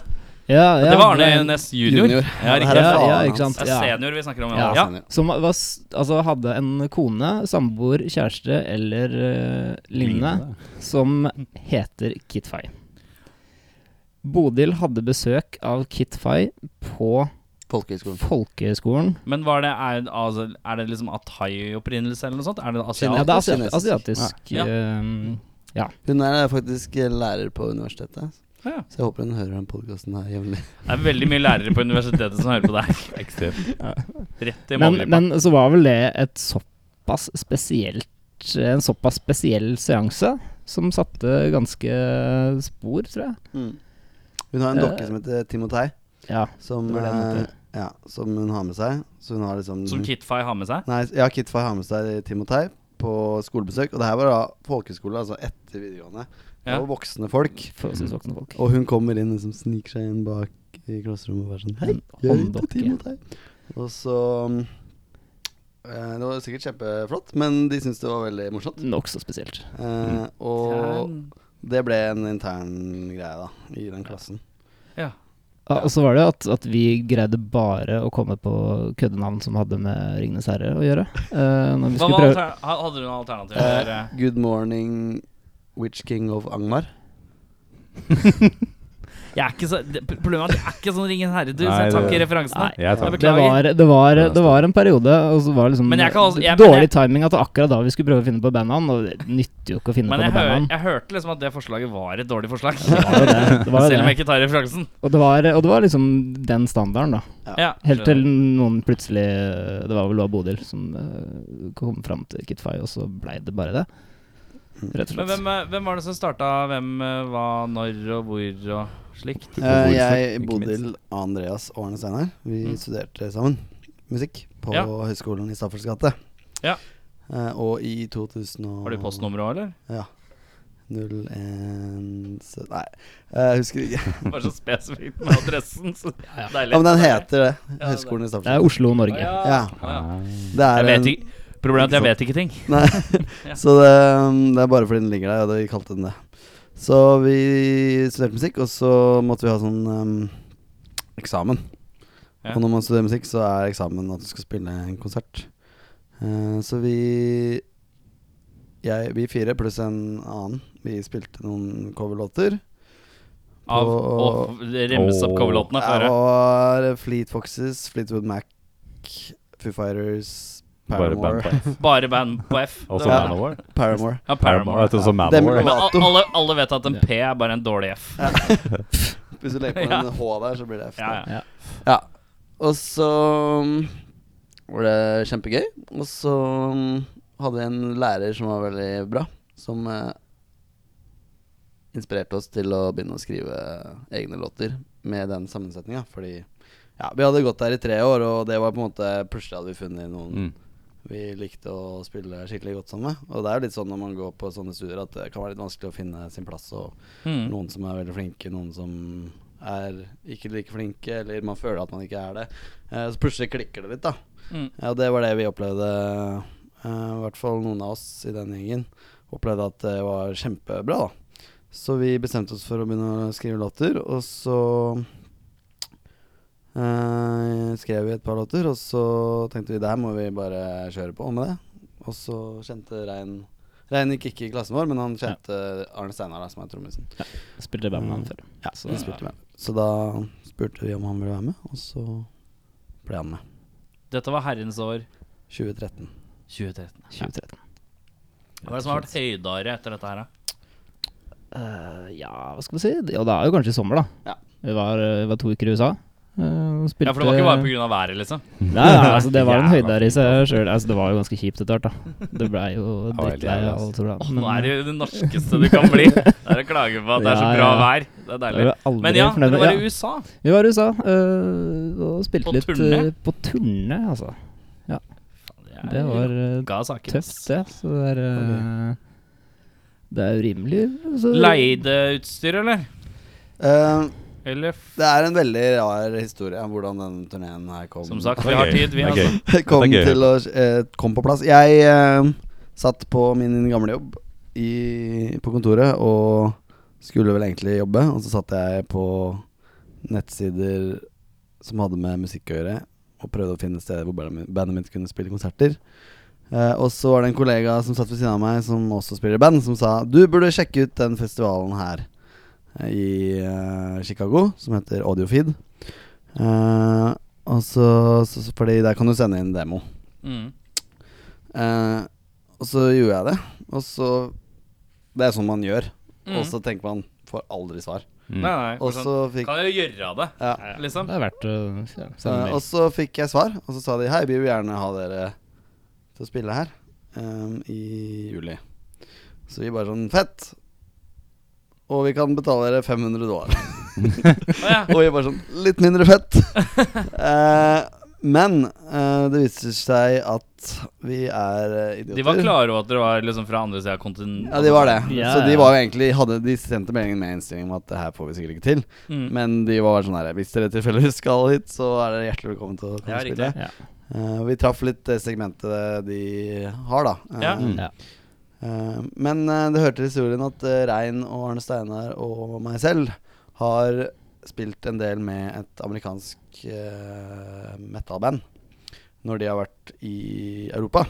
ja, ja Det var Arne men- Næss junior. Junior. Ja, Det riktig. her er Ja, faren ja, hans. ikke sant. Det er senior vi snakker om. Ja. Ja, Ja. senior. Som var, s- altså hadde en kone, samboer, kjæreste eller uh, lignende, som heter Kitfy. Bodil hadde besøk av Kitfy på Folkehøgskolen. folkehøyskolen. Men var det, er, altså, er det liksom atai-opprinnelse eller noe sånt? Er det Ja, asiat? det er asiat kinesisk. asiatisk. Ja. ehm, Hun er faktisk eh, lærer på universitetet, Ja. så jeg håper hun hører den podkasten her jevnlig. Det er veldig mye lærere på universitetet som hører på det her. Ekstremt. Rett i men, målgruppa. men så var vel det et såpass spesielt eh, en såpass spesiell seanse som satte ganske spor, tror jeg. Hun har en Eh. dokke som heter Timotei, Ja, som, Det var det jeg eh, mente. ja, som hun har med seg. Så hun har liksom Som Kitfy har med seg. Nei, ja, Kitfar har med seg Timotei på skolebesøk. Og det her var da folkeskole, altså etter videregående. Det Ja. var voksne folk. forholdsvis voksne sånn, folk. Og hun kommer inn, liksom sniker seg inn bak i klasserommet og bare sånn Hei, En jeg heter hånddokke. Timotei. Og så mm, eh, Det var sikkert kjempeflott, men de syntes det var veldig morsomt. Nokså spesielt. Eh, og det ble en intern greie, da, i den klassen. Ja. Ja, og så var det jo at, at vi greide bare å komme på køddenavn som hadde med Ringenes herre å gjøre. Eh, når vi Hva skulle var prøve alter ha- hadde du noen alternativer? Eh, good morning, Witch King of Angmar. Jeg er ikke så, det, problemet er at jeg er ikke sånn Ringen herre, du, så Nei, jeg tar det- ikke referansene. Nei, Jeg tar Jeg den. det var, det, var, det var en periode, og så var det liksom Men jeg kan altså- jeg- dårlig men jeg- timing at det var akkurat da vi skulle prøve å finne på bandnavn. Og det nytter jo ikke å finne Men på jeg, noe hø bandnavn. jeg hørte liksom at det forslaget var et dårlig forslag. Det var jo det. det, var jo Selv om det. jeg ikke tar referansen. Og, det var, og det var liksom den standarden, da. Ja, Helt til noen plutselig Det var vel da Bodil som eh, kom fram til Kitfy, og så blei det bare det. Rett og Men slett. hvem, eh, hvem var det som starta hvem, eh, hva, når og hvor og slikt? Eh, jeg, Hvorfor, ikke Bodil, Andreas og Arne Steinar, vi Mm. studerte sammen musikk på Ja. Høgskolen i Staffelsgate. Ja. Eh, og i 2000 og Har du postnummer òg, eller? Ja. Null, en, sø- Nei, eh, jeg husker ikke. Bare så spesifikt med adressen. Så deilig. Ja, men den heter det. Ja, Høgskolen i Det er Stavanger. Oslo, Å, Norge. ja. Ja. Å, ja. Det er Jeg vet en- ikke Problemet er at jeg vet ikke ting. Nei, Ja. så det, um, det er bare fordi den ligger der, og det- vi kalte den det. Så vi studerte musikk, og så måtte vi ha sånn ehm, eksamen. Ja. Og når man studerer musikk, så er eksamen at du skal spille en konsert. Eh, så vi jeg, Vi fire pluss en annen, vi spilte noen coverlåter. Av å På- remse opp Åh. coverlåtene for Det deg. var Fleet Foxes, Fleetwood Mac, Foo Fighters, Bare Paramore. Bandpipe. Bare band på F. Og Det så var- Manowar. Paramore. Ja, Paramore. Vet du, så Dem- Manowar. Men ja. al- alle, alle vet at en P er bare en dårlig F. Ja, Hvis du legger på en H der, så blir det F. der. ja. Ja. Og så mm, var det kjempegøy. Og så mm, hadde jeg en lærer som var veldig bra, som eh, inspirerte oss til å begynne å skrive egne låter med den sammensetninga. Fordi ja, vi hadde gått der i tre år, og det var på en måte plutselig hadde vi funnet noen Mm. vi likte å spille skikkelig godt sammen med. Og det er jo litt sånn når man går på sånne studier at det kan være litt vanskelig å finne sin plass. og Mm. noen som er veldig flinke, noen som er ikke like flinke, eller man føler at man ikke er det. Eh, Så plutselig klikker det litt, da. Mm. Ja, det var det vi opplevde, eh, i hvert fall noen av oss i den gjengen, opplevde at det var kjempebra, da. Så vi bestemte oss for å begynne å skrive låter, og så eh, skrev vi et par låter, og så tenkte vi der må vi bare kjøre på med det. Og så kjente Rein Rein gikk ikke i klassen vår, men han kjente Arne Steinar, da, som er trommisen. Spilte i bandet han før. Ja, Så- vi spilte med. Så da spurte vi om han ville være med, og så ble han med. Dette var herrens år 2013. 2013. 2013. Hva er det som har vært høydere etter dette her, da? Eh, ja, hva skal vi si? Det- Og det er jo kanskje i sommer, da. Ja. Vi var, eh, var to uker i USA. eh, og spilte Ja, for det var ikke bare pga. været, liksom. Nei, nei, altså, det var en Jævla høyde der i seg sjøl. Altså, det var jo ganske kjipt etter hvert, da. Det blei jo var helt drittlei jævlig, og alt sånt. da. altså. Nå er det jo det norskeste du kan bli. Det er å klage på at det er så Ja, bra ja. vær. Det er jeg deilig. var aldri Men ja, fornøyd det med- var ja, i USA. vi var i USA øh, og spilte På litt turné? øh, på turné, altså. Det var øh, ga saken. tøft, det. Så det er øh, Det er jo rimelig så, Leide utstyr, eller? Eh, Eller f- det er en veldig rar historie om hvordan den turneen her kom, som sagt, vi har tid, Det vi, er altså. gøy. kom, Dette er gøy. til å, eh, kom på plass. Jeg eh, satt på min gamle jobb i, på kontoret og skulle vel egentlig jobbe, og så satt jeg på nettsider som hadde med musikk å gjøre, og prøvde å finne steder hvor bandet mitt- bandet mitt kunne spille konserter. Eh, og så var det en kollega som satt ved siden av meg, som også spiller i band, som sa du burde sjekke ut den festivalen her eh, i eh, Chicago, som heter Audiofeed. Eh, og så, så, så fordi der kan du sende inn demo. Mm. Eh, og så gjorde jeg det. Og så Det er sånn man gjør. Mm. Og så tenker man får aldri svar. Mm. Nei, nei. Og for sånn- så fikk Kan jo gjøre det, ja. liksom. Det er verdt å ja, sende Eh, mail. og så fikk jeg svar, og så sa de hei, vi vil gjerne ha dere til å spille her ehm, i juli. Så vi bare sånn fett! Og vi kan betale dere 500 dollar. Å, ja. Og vi bare sånn litt mindre fett. Eh, men eh, det viser seg at vi er eh, idioter. De var klare over at dere var liksom fra andre sida av kontinentet? Ja, de var det. Ja, så de ja. var jo egentlig hadde, De sendte meldingen med innstilling om at det her får vi sikkert ikke til. Mm. Men de var bare sånn her Hvis dere tilfeldigvis skal hit, så er dere hjertelig velkommen til å komme Ja, og spille. riktig. Ja. Eh, vi traff litt det segmentet de har, da. Eh, Ja. Mm. Ja. eh, men eh, det hørte til historien at eh, Rein og Arne Steinar og meg selv har spilt en del med et amerikansk uh, metal-band når de har vært i Europa.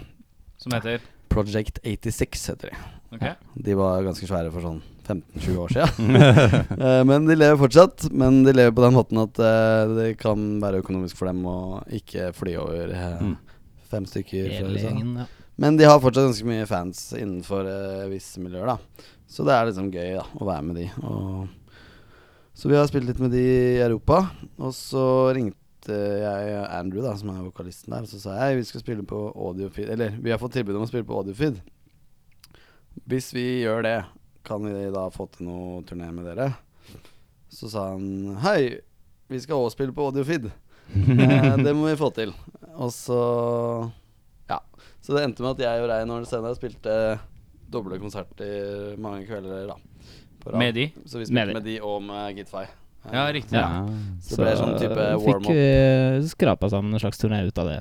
Som heter Project 86 heter de. Ok. De var ganske svære for sånn 15-20 år siden. Eh, men de lever fortsatt. Men de lever på den måten at eh, det kan være økonomisk for dem å ikke fly over eh, altså. Mm. fem stykker. fra Hele USA. gjengen, ja. sånn. Men de har fortsatt ganske mye fans innenfor eh, visse miljøer, da. Så det er liksom gøy da, å være med de. Og så vi har spilt litt med de i Europa. Og så ringte jeg Andrew, da, som er vokalisten der, og så sa jeg vi skal spille på Audiofeed. Eller vi har fått tilbud om å spille på Audiofeed. Hvis vi gjør det, kan vi da få til noe turné med dere? Så sa han hei, vi skal òg spille på Audiofeed. Eh, det må vi få til. Og så ja. Så det endte med at jeg og Rein Arne Steinar spilte doble konserter mange kvelder da. på rad. Med de? Så vi spilte Med de. med de og med Eh, Gitfi. Ja, riktig. Ja, Ja. Så det ble sånn type eh, fikk warm-up. vi eh, skrapa sammen en slags turné ut av det.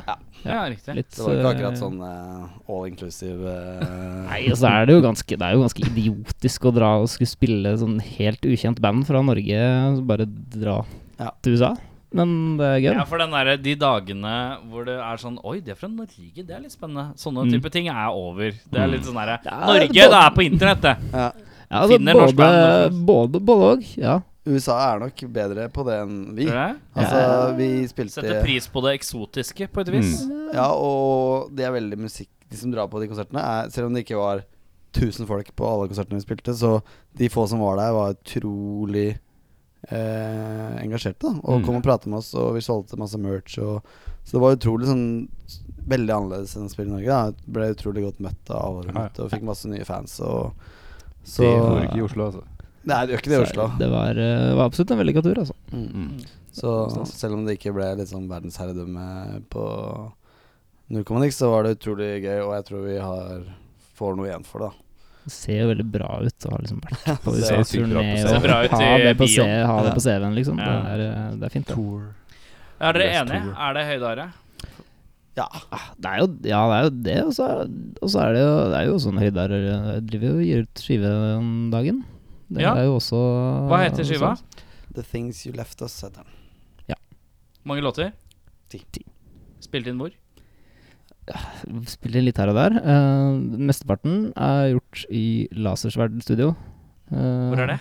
ja riktig. Litt, Det var ikke akkurat eh, sånn eh, all inclusive eh, Nei, og så er det jo ganske Det er jo ganske idiotisk å dra og skulle spille sånn helt ukjent band fra Norge, og bare dra Ja. til USA. Men det er gøy. Ja, da. for den der, de dagene hvor det er sånn Oi, det er fra Norge, det er litt spennende. Sånne Mm. type ting er over. Det er litt sånn derre Ja, Norge, det- det er på internett, det! ja. Ja, altså, finner norsk både, band, både, både og. Ja. USA er nok bedre på det enn vi. Tror du det? Altså, vi Setter spilte pris på det eksotiske, på et vis. Ja, og det er veldig musikk De som drar på de konsertene, er, selv om det ikke var 1000 folk på alle konsertene vi spilte, så de få som var der, var utrolig eh, engasjerte. da Og Mm. kom og pratet med oss, og vi solgte masse merch. Og, så det var utrolig sånn Veldig annerledes enn å spille i Norge. da Ble utrolig godt møtt av alle Ja, rundt, og fikk masse nye fans. Og, så Det går ikke i Oslo, altså. Nei, det gjør ikke det i Oslo. Så det var, eh, var absolutt en vellykka tur, altså. Mm. Mm. Så selv om det ikke ble litt sånn verdensherredømme på null komma niks, så var det utrolig gøy, og jeg tror vi har får noe igjen for det. da Det ser jo veldig bra ut å ha liksom vært på Det USA ser sykt bra turné ut. Det og ser bra ut ha i det på, bio. C- ha det Ja. på CV-en, liksom. Ja. Det, er, eh, det er fint, det. Tour. Er dere Yes, enige? Er det høydare? Ah, Det er jo, ja, det er jo det, og så er, og så er det jo Det er jo sånn Høydar eh, driver jo og gir ut skive om dagen. Det Ja. er jo også Hva heter skiva? The Things You Left Us, heter den. Mange låter? Ti. Spilt inn hvor? Spiller litt her og der. Eh, mesteparten er gjort i Lasersverd studio. Eh, Hvor er det?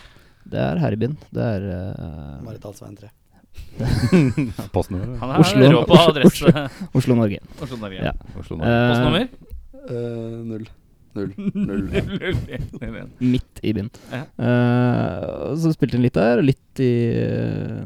Det er her i byen. Det er eh, Marit Alsveien 3. Postnummer. Han er Oslo. rå på adresse. Oslo, Norge. Oslo, Norge. Ja. Oslo nå. Eh, Postnummer? Eh, null. Null. Null. ja. midt i byen. Ja. Eh, og så spilte han litt der, og litt i eh,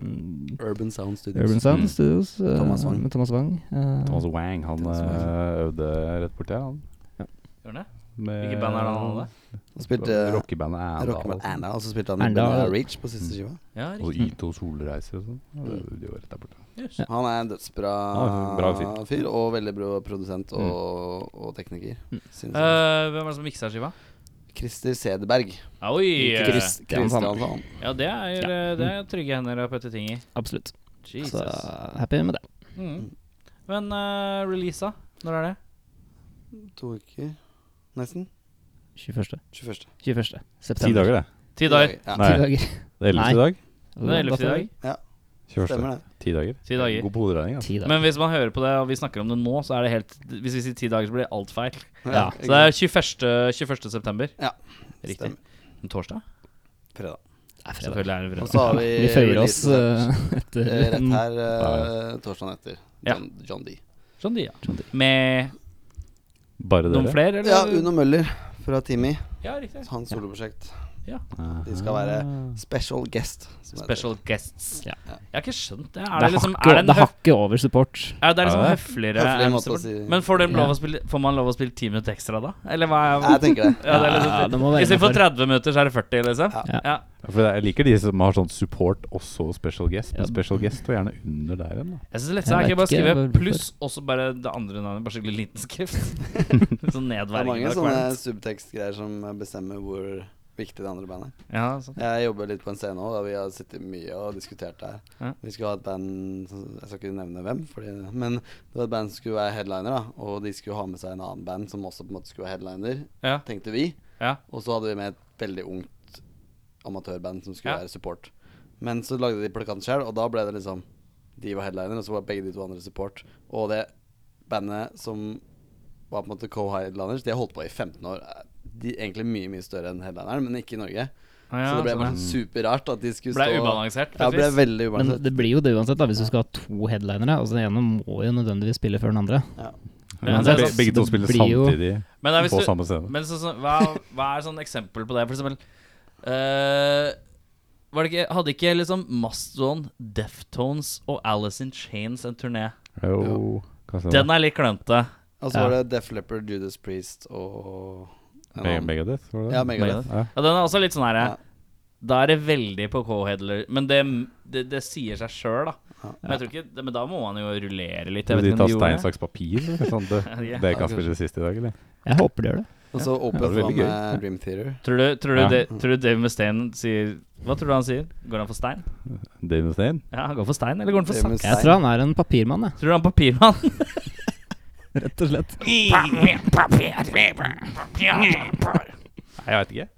Urban Sound Studios. Urban Sound Mm. Studios eh, Thomas Wang. med Thomas Wang. eh, Thomas Wang, han Thomas Wang. eh, øvde rett borti her, han. Gjør det? Med- Hvilket band er det han hadde? Han spilte Rockebandet Erndal. Rockeband altså. Erna, og så spilte han i Erna. bandet Reach på siste skiva. Ja, Og riktig. Ito Solreiser og sånn. Ja, det- De var rett der borte. Yes. Han er en dødsbra Ja, bra fyr. Mm. fyr, og veldig bra produsent og, og tekniker. Synes jeg. Eh, hvem er det som miksa skiva? Christer Sederberg. Oi! eh, Chris- Kristiansand. Kristiansand. Ja, det er, eh, det er trygge hender og putte ting i. Absolutt. Jesus. Så happy med det. Mm. Men uh, releasa, når er det? To uker, nesten. 21. 21. 21. september. Ti dager, det. Ti dager. Ja. Nei. Ti dager. Det er 11 Nei. i dag. Den er 11. i dag. 21. Stemmer det. Ti dager. Ti dager. God på hoderegning, altså. Ti dager. Men hvis man hører på det, og vi snakker om det nå, så er det helt Hvis vi sier ti dager, så blir det alt feil. Ja, Så det er 21. 21. september. Ja, Riktig. En Torsdag? Fredag. Det er fredag. Selvfølgelig er det Og fredag. så har vi Vi føyer oss releasen her, eh, etter eh, rett en- her eh, torsdagen etter. Ja. John, John D. Sånn, de, ja. Med Bare dere. noen flere, eller? Ja, Uno Sånn Møller fra Timi. Ja, riktig. Hans soloprosjekt. Aha. De skal være special guest. som det heter. Special guests. Ja. Jeg har ikke skjønt det. Det Er er, det liksom hakket, Er det en det er hakket over support. Er det liksom Ja. høfligere? Høflig måte å support? si- Men får, dem lov Ja. å spille, får man lov å spille ti minutter ekstra da? Eller hva er Jeg tenker det. ja, det er Ja, liksom, det må være Istedenfor innenfor. 30 minutter, så er det 40, liksom? Ja. Ja. Ja. For jeg liker de som har sånn support også special guest. Ja. Men special guest var gjerne under der igjen, da. Jeg synes det lette Jeg er ikke vet bare å ikke skrive hvorfor. pluss, og så bare det andre navnet. Bare skikkelig liten skrift. sånn Det er mange nedverdigende. og sånne kvalmt. subtekstgreier som bestemmer hvor viktig det andre bandet er. Ja, sånn. Jeg jobber litt på en scene òg, og vi har sittet mye og diskutert det her. Ja. Vi skulle ha et band som- Jeg skal ikke nevne hvem, fordi, men det var et band som skulle være headliner, da. Og de skulle ha med seg en annen band som også på en måte skulle være headliner, ja, tenkte vi. ja. Og så hadde vi med et veldig ungt amatørband som skulle Ja. være support. Men så lagde de plakaten sjøl, og da ble det liksom De var headliner, og så var begge de to andre support. Og det bandet som var på en måte co-headliners, de har holdt på i 15 år. De er egentlig mye mye større enn headlineren, men ikke i Norge. ja så det ble sånn, bare ja. sånn superrart at de skulle ble stå ubalansert. Ja, på et det ble vis. veldig Men ubalansert. det blir jo det uansett, da hvis du skal ha to headlinere. Altså Den ene må jo nødvendigvis spille før den andre. Ja, Men det er be- sant. begge to Det spiller blir jo- samtidig Men, da, hvis på du, samme scene. men så, så, hva, hva er sånn eksempel på det? For eksempel eh, var det ikke, Hadde ikke liksom Mastodon, Deftones og Alice in Chains en turné? Jo, hva sa Den du? er litt klønete. Og så var det Def Leppard, Judas Priest og en Me- annen- Megadeth, var det det? Ja, Megadeth. Ja. Ja, den er også litt sånn herre Ja. Da er det veldig på K-headler. Men det, det, det sier seg sjøl, da. Ja. Men, jeg tror ikke, det- men da må man jo rullere litt. Jeg Skal vet de ikke ta om de stein, gjorde det. saks, papir? eller Sånn, det, Ja, det ja, kan spille sist i dag, eller? Jeg håper de gjør det. Og så det åpnet var han veldig med Dream Theater. Tror du, tror, du, Ja. det- tror du Dave Mustaine sier Hva tror du han sier? Går han for stein? Dave Mustaine? Ja, han går for stein, eller går han for Dave sand? Mustaine. Jeg tror han er en papirmann, jeg. Tror du han er papirmann? Rett og slett. Nei, jeg veit ikke.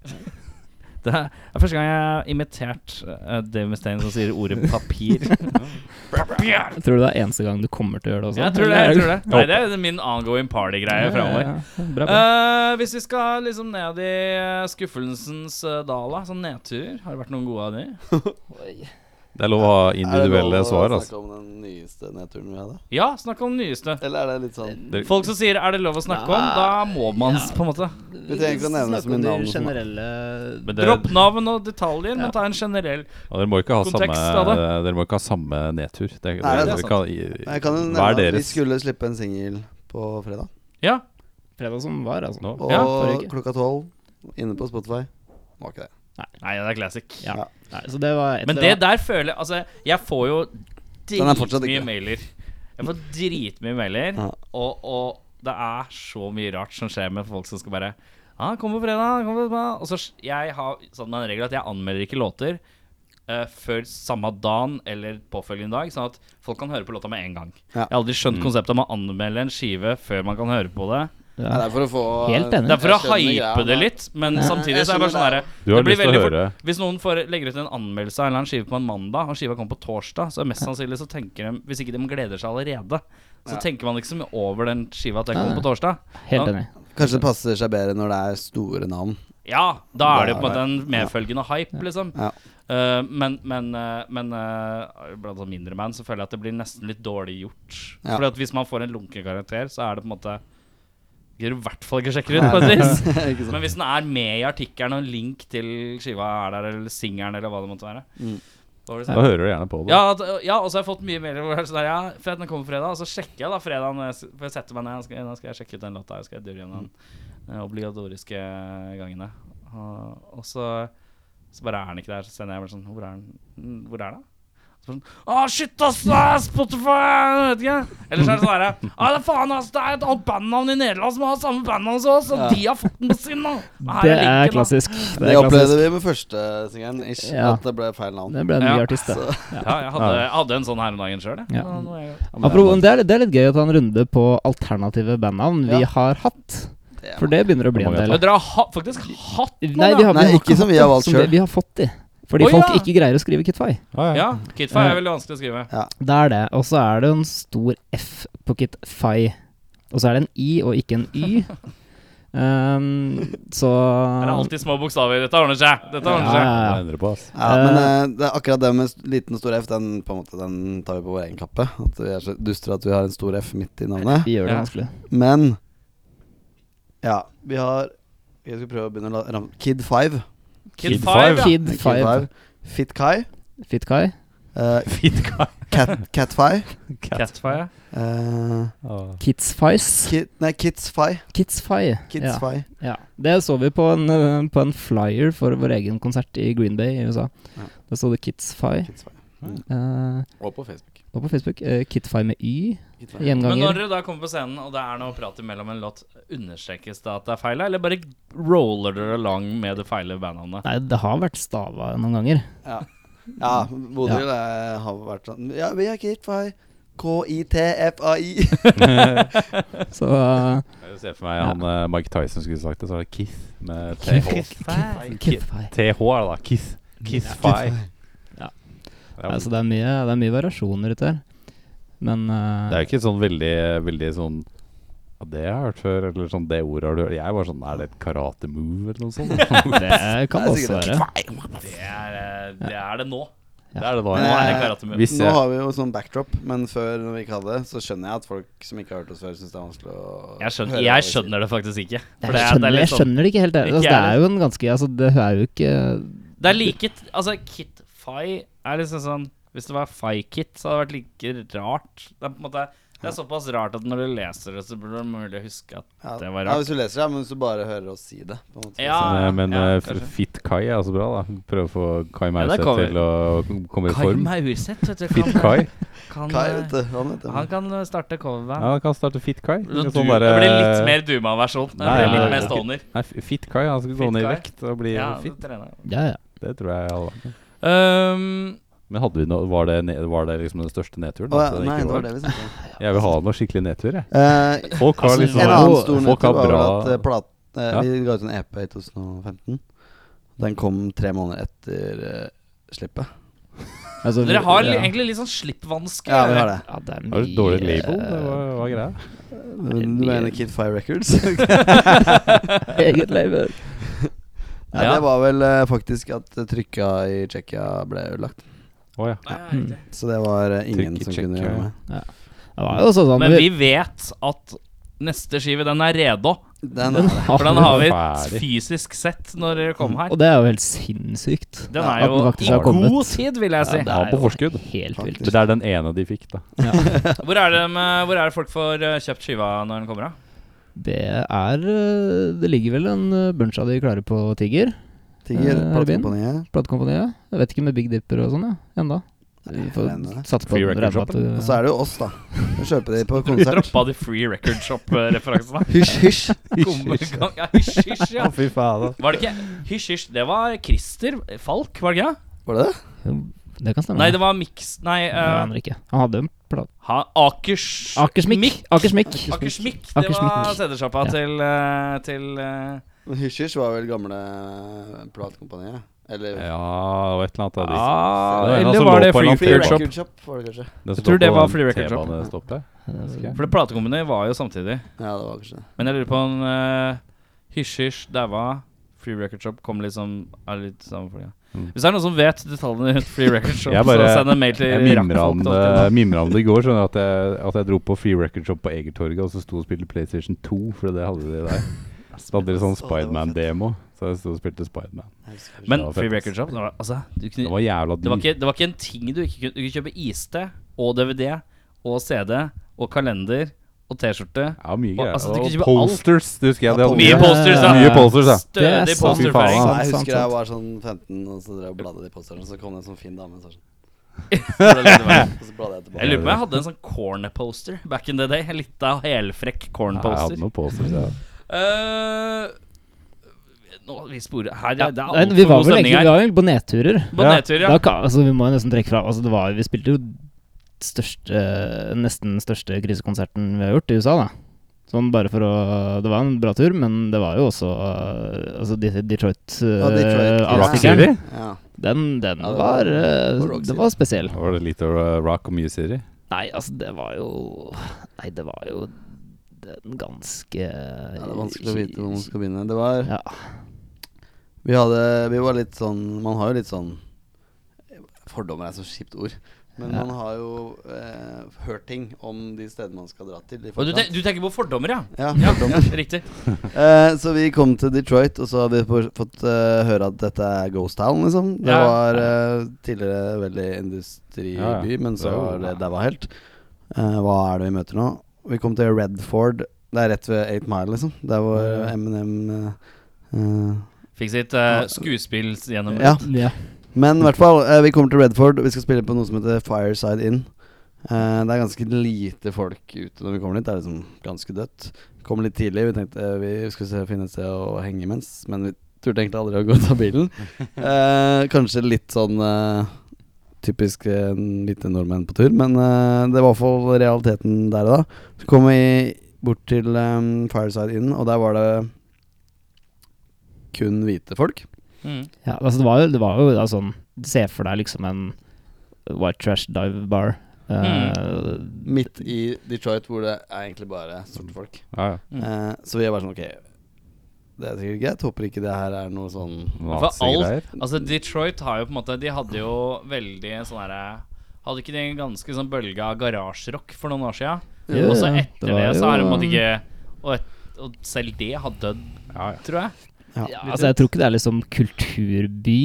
Det er det er første gang jeg har imitert eh, Dave Mustaine som sier ordet papir. Jeg tror det er eneste gang du kommer til å gjøre det også. Jeg tror det. jeg tror det Nei, det er min ongoing party-greie framover. Bra, bra. Eh, hvis vi skal liksom ned i eh, skuffelsens eh, dal, da, sånn nedtur Har det vært noen gode av de? Det er lov å ha individuelle svar, altså. Snakke om den nyeste nedturen vi hadde? Ja, snakk om den nyeste. Eller er det litt sånn Det- Folk som sier 'er det lov å snakke om', da må man s- på en måte. Vi trenger ikke å nevne så mye navn. sånn, som- generelle Men det, Dropp navn og detaljer, Ja. men ta en generell. og dere, må ikke ha samme, kontekst av det. dere må ikke ha samme nedtur. Det, det, Nei, det er dere sant. kan- i- Jeg kan jo Hva er nevne at vi deres? skulle slippe en singel på fredag. Ja. fredag som var, altså. Nå? Og Ja, forrige uke. klokka tolv inne på Spotify. Var ikke det. Nei, det er classic. Ja. Ja. Nei, så det var et Men det der føler jeg Altså, jeg får jo Den er fortsatt ikke det. dritmye mailer. Jeg får dritmye mailer, Ja. og, og det er så mye rart som skjer med folk som skal bare Ja, ah, kom på fredag, kom på fredag. Og så s- jeg har sånn en regel at jeg anmelder ikke låter eh, før samme dagen eller påfølgende dag, sånn at folk kan høre på låta med en gang. Ja. Mm. Jeg har aldri skjønt konseptet om å anmelde en skive før man kan høre på det. Nei, det er for å få Helt enig. Det er for å Jeg skjønner greia, hype det men- litt, men Ja, samtidig jeg så er det bare sånn skjønner herre det. Du har det blir lyst til å veldig fort- høre. Hvis noen får, legger ut en anmeldelse av en eller annen skive på en mandag, og skiva kommer på torsdag, så er mest sannsynlig så tenker de Hvis ikke de gleder seg allerede, så Ja. tenker man ikke så mye over den skiva at den Nei, kommer nei. på torsdag. Helt Ja. enig. Kanskje det passer seg bedre når det er store navn. Ja, da er det jo på Da en måte er en medfølgende hype, liksom. Ja. Eh, men men, eh, men eh, blant sånn mindre band så føler jeg at det blir nesten litt dårlig gjort. Ja. Fordi at hvis man får en lunken karakter, så er det på en måte Gidder du i hvert fall ikke sjekke ut, på et vis. Ikke sant? Men hvis den er med i artikkelen, og en link til skiva er der, eller singelen, eller hva det måtte være Mm. Da var det Da sånn. hører du gjerne på det. Ja, at- øh, ja, og så har jeg fått mye mer hvor jeg er sånn der, Ja, fett, den kommer fredag. Og så sjekker jeg da fredag når jeg, s- for jeg setter meg ned. og Skal, nå skal jeg sjekke ut den låta. her, Skal jeg durre gjennom den eh, obligatoriske gangene. Og, og så, så bare er den ikke der. Så sender jeg bare sånn Hvor er den? Mm, Hvor er den? Så bare Sånn, Å, shit, ass! det er Spotify! Jeg vet ikke. Eller så er det sånn herre Å, det er faen, ass! Det er et annet bandnavn i Nederland som har samme bandnavn som oss, og Ja. de har fått den på sin, da! Her Det linken, er da. klassisk. Det opplevde vi med første singelen, ish. Ja. At det ble feil navn. Det ble en ny Ja. artist, det. Ja, jeg hadde, jeg hadde en sånn her om dagen sjøl, jeg. Ja. Ja, nå er jeg. Apropos, det, er, litt- det er litt gøy å ta en runde på alternative bandnavn vi Ja. har hatt. Det er- For det begynner å bli en Hvor mange del. Men dere har ha, faktisk hatt noen, Nei, vi har, Nei, vi har ikke som vi har hatt valgt som det- selv. Vi har fått de. Fordi Å, folk ja. ikke greier å skrive Kitfy. Ja, Ja, ja. Kitfire er veldig vanskelig å skrive. Det er det. Og så er det en stor F på Kitfy. Og så er det en I og ikke en Y. Ehm, så Det er alltid små bokstaver. Dette ordner seg. Dette ja, ordner ja, seg. Det må ja. jeg endre på, altså. ass. Ja, men eh, det er akkurat det med s- liten og stor F, den, på en måte, den tar vi på vår egen kappe. At vi er så dustre at vi har en stor F midt i navnet. Vi gjør det Ja. vanskelig. Men ja, vi har Jeg skal prøve å begynne å la- ramme Kid 5. Kid Kid Five, ja. Kid Five. Fitkai. Fitkai. Uh, Fitkai. Cat, Catfi. Catfire. eh, Kidsfies. kid, nei, Kidsfi. Kidsfy. Ja. Kidsfi. Ja, Det så vi på en, eh, på en flyer for vår egen konsert i Green Bay i USA. Ja. Da sto det Kidsfy. Kidsfi. Uh, Og på Facebook. og på Facebook uh, Kitfy med Y. Men når Gjenganger. dere da kommer på scenen, og det er noe prat imellom en låt, understrekes det at det er feil, eller bare roller dere along med det feile bandnavnet? Nei, det har vært stava noen ganger. Ja, ja Bodil eh, har vært sånn Ja, vi er Kidsfi. K-I-T-F-A-I. Så eh, Jeg ser for meg han eh, Mike Tyson skulle sagt det, så er det Kith med Kith. TH. Kitfy. TH er det da. Kith. Kith-fi. Ja. Ja, Nei, så det er mye, det er mye variasjoner ute her. Men eh, Det er jo ikke sånn veldig, veldig sånn ja, det har jeg hørt før, eller sånn det ordet har du hørt. Jeg var sånn Er det et karate move, eller noe sånt? det kan Det er det også sikkert være. Det er eh, det, er det nå. Ja. Det er det nå, Nå Men, er det eh, karatemur. Hvis Nå jeg har vi jo sånn backdrop, men før når vi ikke hadde det, så skjønner jeg at folk som ikke har hørt oss før, syns det er vanskelig å Jeg høre skjønner, hva jeg vi sier. skjønner det faktisk ikke. For Jeg det er, det er skjønner, litt jeg sånn skjønner det ikke helt. Ikke Altså, det jeg er jo en ganske altså, Det er jo ikke Det er like t- Altså, Kit-Fi er liksom sånn Hvis det var Fi-Kit, så hadde det vært like rart. Det er på en måte Det er såpass rart at når du leser det, så burde det være mulig å huske at Ja. Det var Ja, rart. hvis du leser det, men hvis du bare hører oss si det. På en måte. Ja, Men, eh, men ja, eh, f- kanskje. Fit Kai er altså bra, da. Prøve å få Kai Ja, det Mauseth kan vi. til å kom- komme i Kai form. Maurseth, vet du. Fit Kai. kan, eh, Kai, vet du. Han vet det. han kan starte coverband. Ja, han kan starte Fit Kai. Så Sånn du, der, det blir litt eh, mer Duma-versjon. Det Nei, blir nei, Litt nei. mer stoner. Nei, f- Fit Kai. Han skal Fit gå ned i Kai. vekt og bli Ja, fit. det trener jeg. Ja, ja. Det tror jeg alle har. Ehm, Men hadde vi noe, var, det ne, var det liksom den største nedturen? Å, ja, At det ikke nei, det var? var det vi snakket om. Jeg vil ha noe skikkelig nedtur, jeg. Eh, Folk har Altså, liksom en annen stor folk har nedtur var vel bra at eh, plat, eh, Ja. vi ga ut en EP i 2015. Den kom tre måneder etter eh, slippet. Altså, dere har li ja. egentlig litt sånn slippvansker. Ja, vi har det. Ja, det er Har du et dårlig mye, label? Det var, var greia. Du mener Kid Fire Records? eh, Eget label. Nei, Ja. Det var vel eh, faktisk at trykka i Tsjekkia ble ødelagt. Å ja. Nei, jeg vet ikke. Så det var eh, ingen Trykk i som Tsjekkia, kunne ja. gjøre noe. Det var jo også sånn Men vi vet at neste skive, den er redo. Den, den har, For den har vi Ferdig. fysisk sett når dere kom her. Og det er jo helt sinnssykt. Den at er jo den faktisk i har kommet. god tid, vil jeg si. Ja, det Ha er på jo forskudd. Helt vilt. Men det er den ene de fikk, da. Hvor er det, med, hvor er det folk får eh, kjøpt skiva når den kommer, da? Det er eh, Det ligger vel en eh, bunch av de klare på Tiger, Tigger, Eh, platekompaniet. platekompaniet. Jeg vet ikke med Big Dipper og sånn, ja. Enda. Nei, Får jeg mener det. altså. Satse på Free at- Record regner med at Og så er det jo oss, da. Vi kjøper de på Du konsert. droppa de Free Record Shop-referansene. Hysj, hysj. ja, hysj, hysj, ja. fy faen. Var det ikke Hysj, hysj. Det var Christer Falk, var det ikke? det? Var det det? Jo, Det kan stemme. Nei, det var Mix... Nei, Nei, jeg eh, aner ikke. Han hadde en plat... ha, Akers... Akersmikk! Akersmikk. Akersmikk. Det Akersmikk. var CD-sjappa Ja. til, eh, til eh, Men Hysj, hysj var vel gamle platekompaniet? Eller Eh, Ja, det var et eller annet av de. Ah, Det var en eller som var lå det på en Free annen Free Record Shop? Record Shop, var det kanskje. Den som tror lå det på var den Free Record Shop. T-banestoppet. For det platekompaniet var jo samtidig. Ja, det var kanskje det. Men jeg lurer på om eh, Hysj, hysj, daua. Free Record Shop kommer liksom er litt samme folk, ja. Mm. Hvis det er noen som vet detaljene rundt Free Record Shop, Jeg bare- så send en mail til Jeg mimra om, eh, det- rakkfolk.no. mimra om det i går, skjønner du, at jeg, at jeg dro på Free Record Shop på Egertorget, og så sto og spilte PlayStation 2, for det hadde de der. Så hadde de sånn Å, det var fett. Spiderman-demo, så jeg sto og spilte Spiderman. Jeg husker ikke. Men Det var Free fett. Record Shop det var, altså, du Det kunne, var jævla det, var dyrt. ikke, det var ikke en ting du ikke kunne Du kunne kjøpe iste og DVD og CD og kalender og T-skjorte. Ja, mye Og- greier. altså, du kunne og kjøpe alt. posters, du husker jeg. Det hadde Mye Mye jeg. posters, da. Mye posters, ja. Det Stødig er sant, fy Så posterføring. jeg faen. sant, husker jeg sant. var sånn 15, og så drev jeg og bladde i posteren, og så kom det en sånn fin dame. Så var jeg sånn. Og så bladde jeg Jeg tilbake. lurer på om jeg hadde en sånn corner-poster back in the day. En lita Ja, Jeg helfrekk hadde corner-poster. noen posters, ja. Eh, nå, vi sporer her. Ja, det er nei, vi altfor var god vel stemning egentlig vi her. var egentlig på nedturer. På Ja. nedtur, Da ja. ka- altså, vi må jo nesten trekke fra altså, det var, Vi spilte jo største, nesten største krisekonserten vi har gjort i USA, da. Sånn bare for å Det var en bra tur, men det var jo også uh, altså, De- Detroit, uh, Ja, Detroit. avstikkeren. Rock City? Ja. Den, den Ja, det var- var, uh, var Rock City. Det var spesiell. Var det litt av uh, Rock og mye City? Nei, altså, det var jo Nei, det var jo den ganske ja, det er vanskelig å vite hvor man skal begynne. Det var Ja. Vi hadde Vi var litt sånn Man har jo litt sånn Fordommer er et så kjipt ord. Men Ja. man har jo eh, hørt ting om de stedene man skal dra til. i Og du, forkant. te du tenker på fordommer, ja? ja, Ja, fordommer. ja riktig. Eh, så vi kom til Detroit, og så har vi på- fått eh, høre at dette er Ghost Town, liksom. Det Ja. var eh, tidligere veldig industriby, Ja, ja. men så Det er jo- var det der var helt. Eh, hva er det vi møter nå? Vi kom til Redford. Det er rett ved Eight Mile, liksom. Der hvor Ja, ja. Eminem eh, eh, Fikk sitt uh, skuespill gjennom Ja. Ja. Men i hvert fall, eh, vi kommer til Redford. Vi skal spille på noe som heter Fireside Inn. Eh, det er ganske lite folk ute når vi kommer dit. Det er liksom ganske dødt. Kom litt tidlig. Vi tenkte eh, vi skulle se, finne et sted å henge imens, men vi turte egentlig aldri å gå ut av bilen. Eh, kanskje litt sånn eh, typisk eh, lite nordmenn på tur, men eh, det var i hvert fall realiteten der og da. Så kom vi bort til eh, Fireside Inn, og der var det kun hvite folk. Mm. Ja, altså det var jo, det var jo da sånn Se for deg liksom en white trash dive bar. Eh, Midt i Detroit, hvor det er egentlig bare sorte folk. Ja, ja. Mm. Eh, så vi er bare sånn Ok, det er sikkert greit. Håper ikke det her er noe sånn Nazi-greier. Altså, Detroit har jo på en måte De hadde jo veldig sånn herre Hadde ikke de en ganske sånn bølge av garasjerock for noen år sia? Jo, Og så ja, etter det, var så jo, er det på en måte ikke Og, et, og selv det har dødd, Ja, ja. tror jeg. ja, altså Jeg tror ikke det er liksom kulturby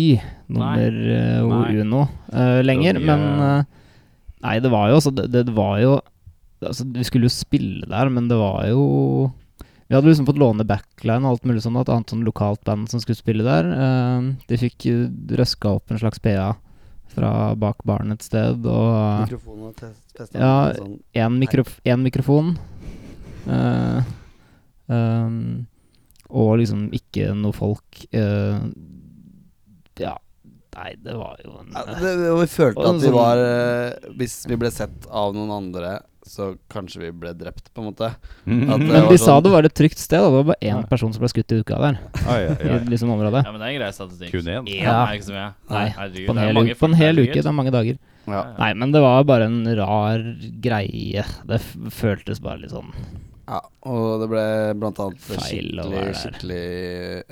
nummer eh, og Nei. uno eh, lenger, Det var mye- men eh, Nei, det altså, var jo også det, det var jo altså, Vi skulle jo spille der, men det var jo Vi hadde liksom fått låne backline og alt mulig sånn, et annet sånn lokalt band som skulle spille der. Eh, de fikk eh, røska opp en slags PA fra bak baren et sted, og eh, Mikrofonen og test, testet Ja, sånn. én mikrof en mikrofon. Eh, ehm, og liksom ikke noe folk eh, Ja, nei, det var jo en Ja, det, det, vi følte Og at vi sånn- var eh, Hvis vi ble sett av noen andre, så kanskje vi ble drept, på en måte. At det Men var de sånn- sa det var et trygt sted, og det var bare Ja. én person som ble skutt i uka der. Ai, ai, I ai. liksom området. Ja, men det er en grei statistikk. Kun én? Én Ja. er ikke så mye. Nei, Herregud, På en det er hel, mange uke, på en hel folk, uke. Det er mange dager. Ja. Ja. Nei, men det var bare en rar greie. Det f føltes bare litt sånn Ja, og det ble blant annet Feil å skikkelig, være der. skikkelig